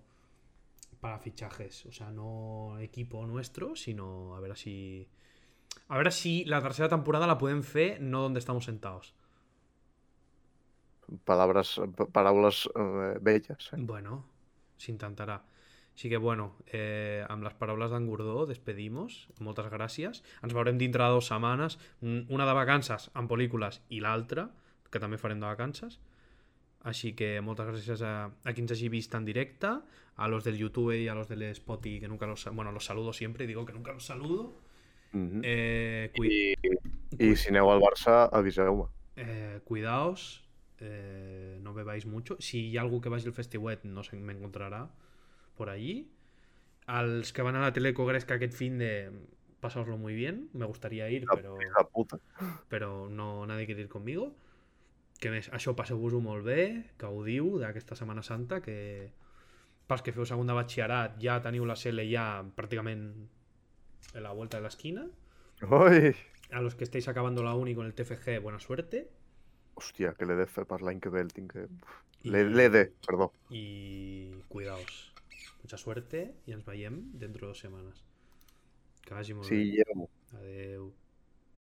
Speaker 1: para fichajes, o sea, no equipo nuestro, sino a ver si a ver si la tercera temporada la pueden fer no donde estamos sentados.
Speaker 2: Palabres, pa- paraules eh, belles. Eh?
Speaker 1: Bueno, s'intentarà. Així que, bueno, eh, amb les paraules d'en Gordó despedimos. Moltes gràcies. Ens veurem dintre de dues setmanes. mm, Una de vacances amb pel·lícules i l'altra, que també farem de vacances. Així que moltes gràcies a, a qui ens hagi vist en directe, a los del YouTube y a los del Spotify, que nunca los... Bueno, los saludo siempre, digo que nunca los saludo.
Speaker 2: Mhm.
Speaker 1: Eh, cui-
Speaker 2: I si aneu al Barça, aviseu-me.
Speaker 1: eh, cuidaos, eh, no no bebáis mucho. Si hi ha algú que vagi al festiuet, no sé, me encontrarà por allí. Els que van a la Teleco Gresca aquest fin de pasároslo muy bien, me gustaría ir, però,
Speaker 2: La puta.
Speaker 1: però no, nadie quiere ir conmigo. Que més, això passeu-vos-ho molt bé, gaudiu d'aquesta Setmana Santa, que pels que feu segon de batxillerat ja teniu la CL ja pràcticament a la volta de l'esquina.
Speaker 2: Ui!
Speaker 1: A los que estéis acabando la uni con el TFG, buena suerte.
Speaker 2: Hòstia, que l'he de fer per l'any que ve el tinc que...
Speaker 1: I-
Speaker 2: L'he l'he de, perdó.
Speaker 1: Y cuidaos. Mucha suerte y nos veiem dentro de dos semanas. Que vagi molt
Speaker 2: Sí,
Speaker 1: bé.
Speaker 2: Guillermo.
Speaker 1: Adeu.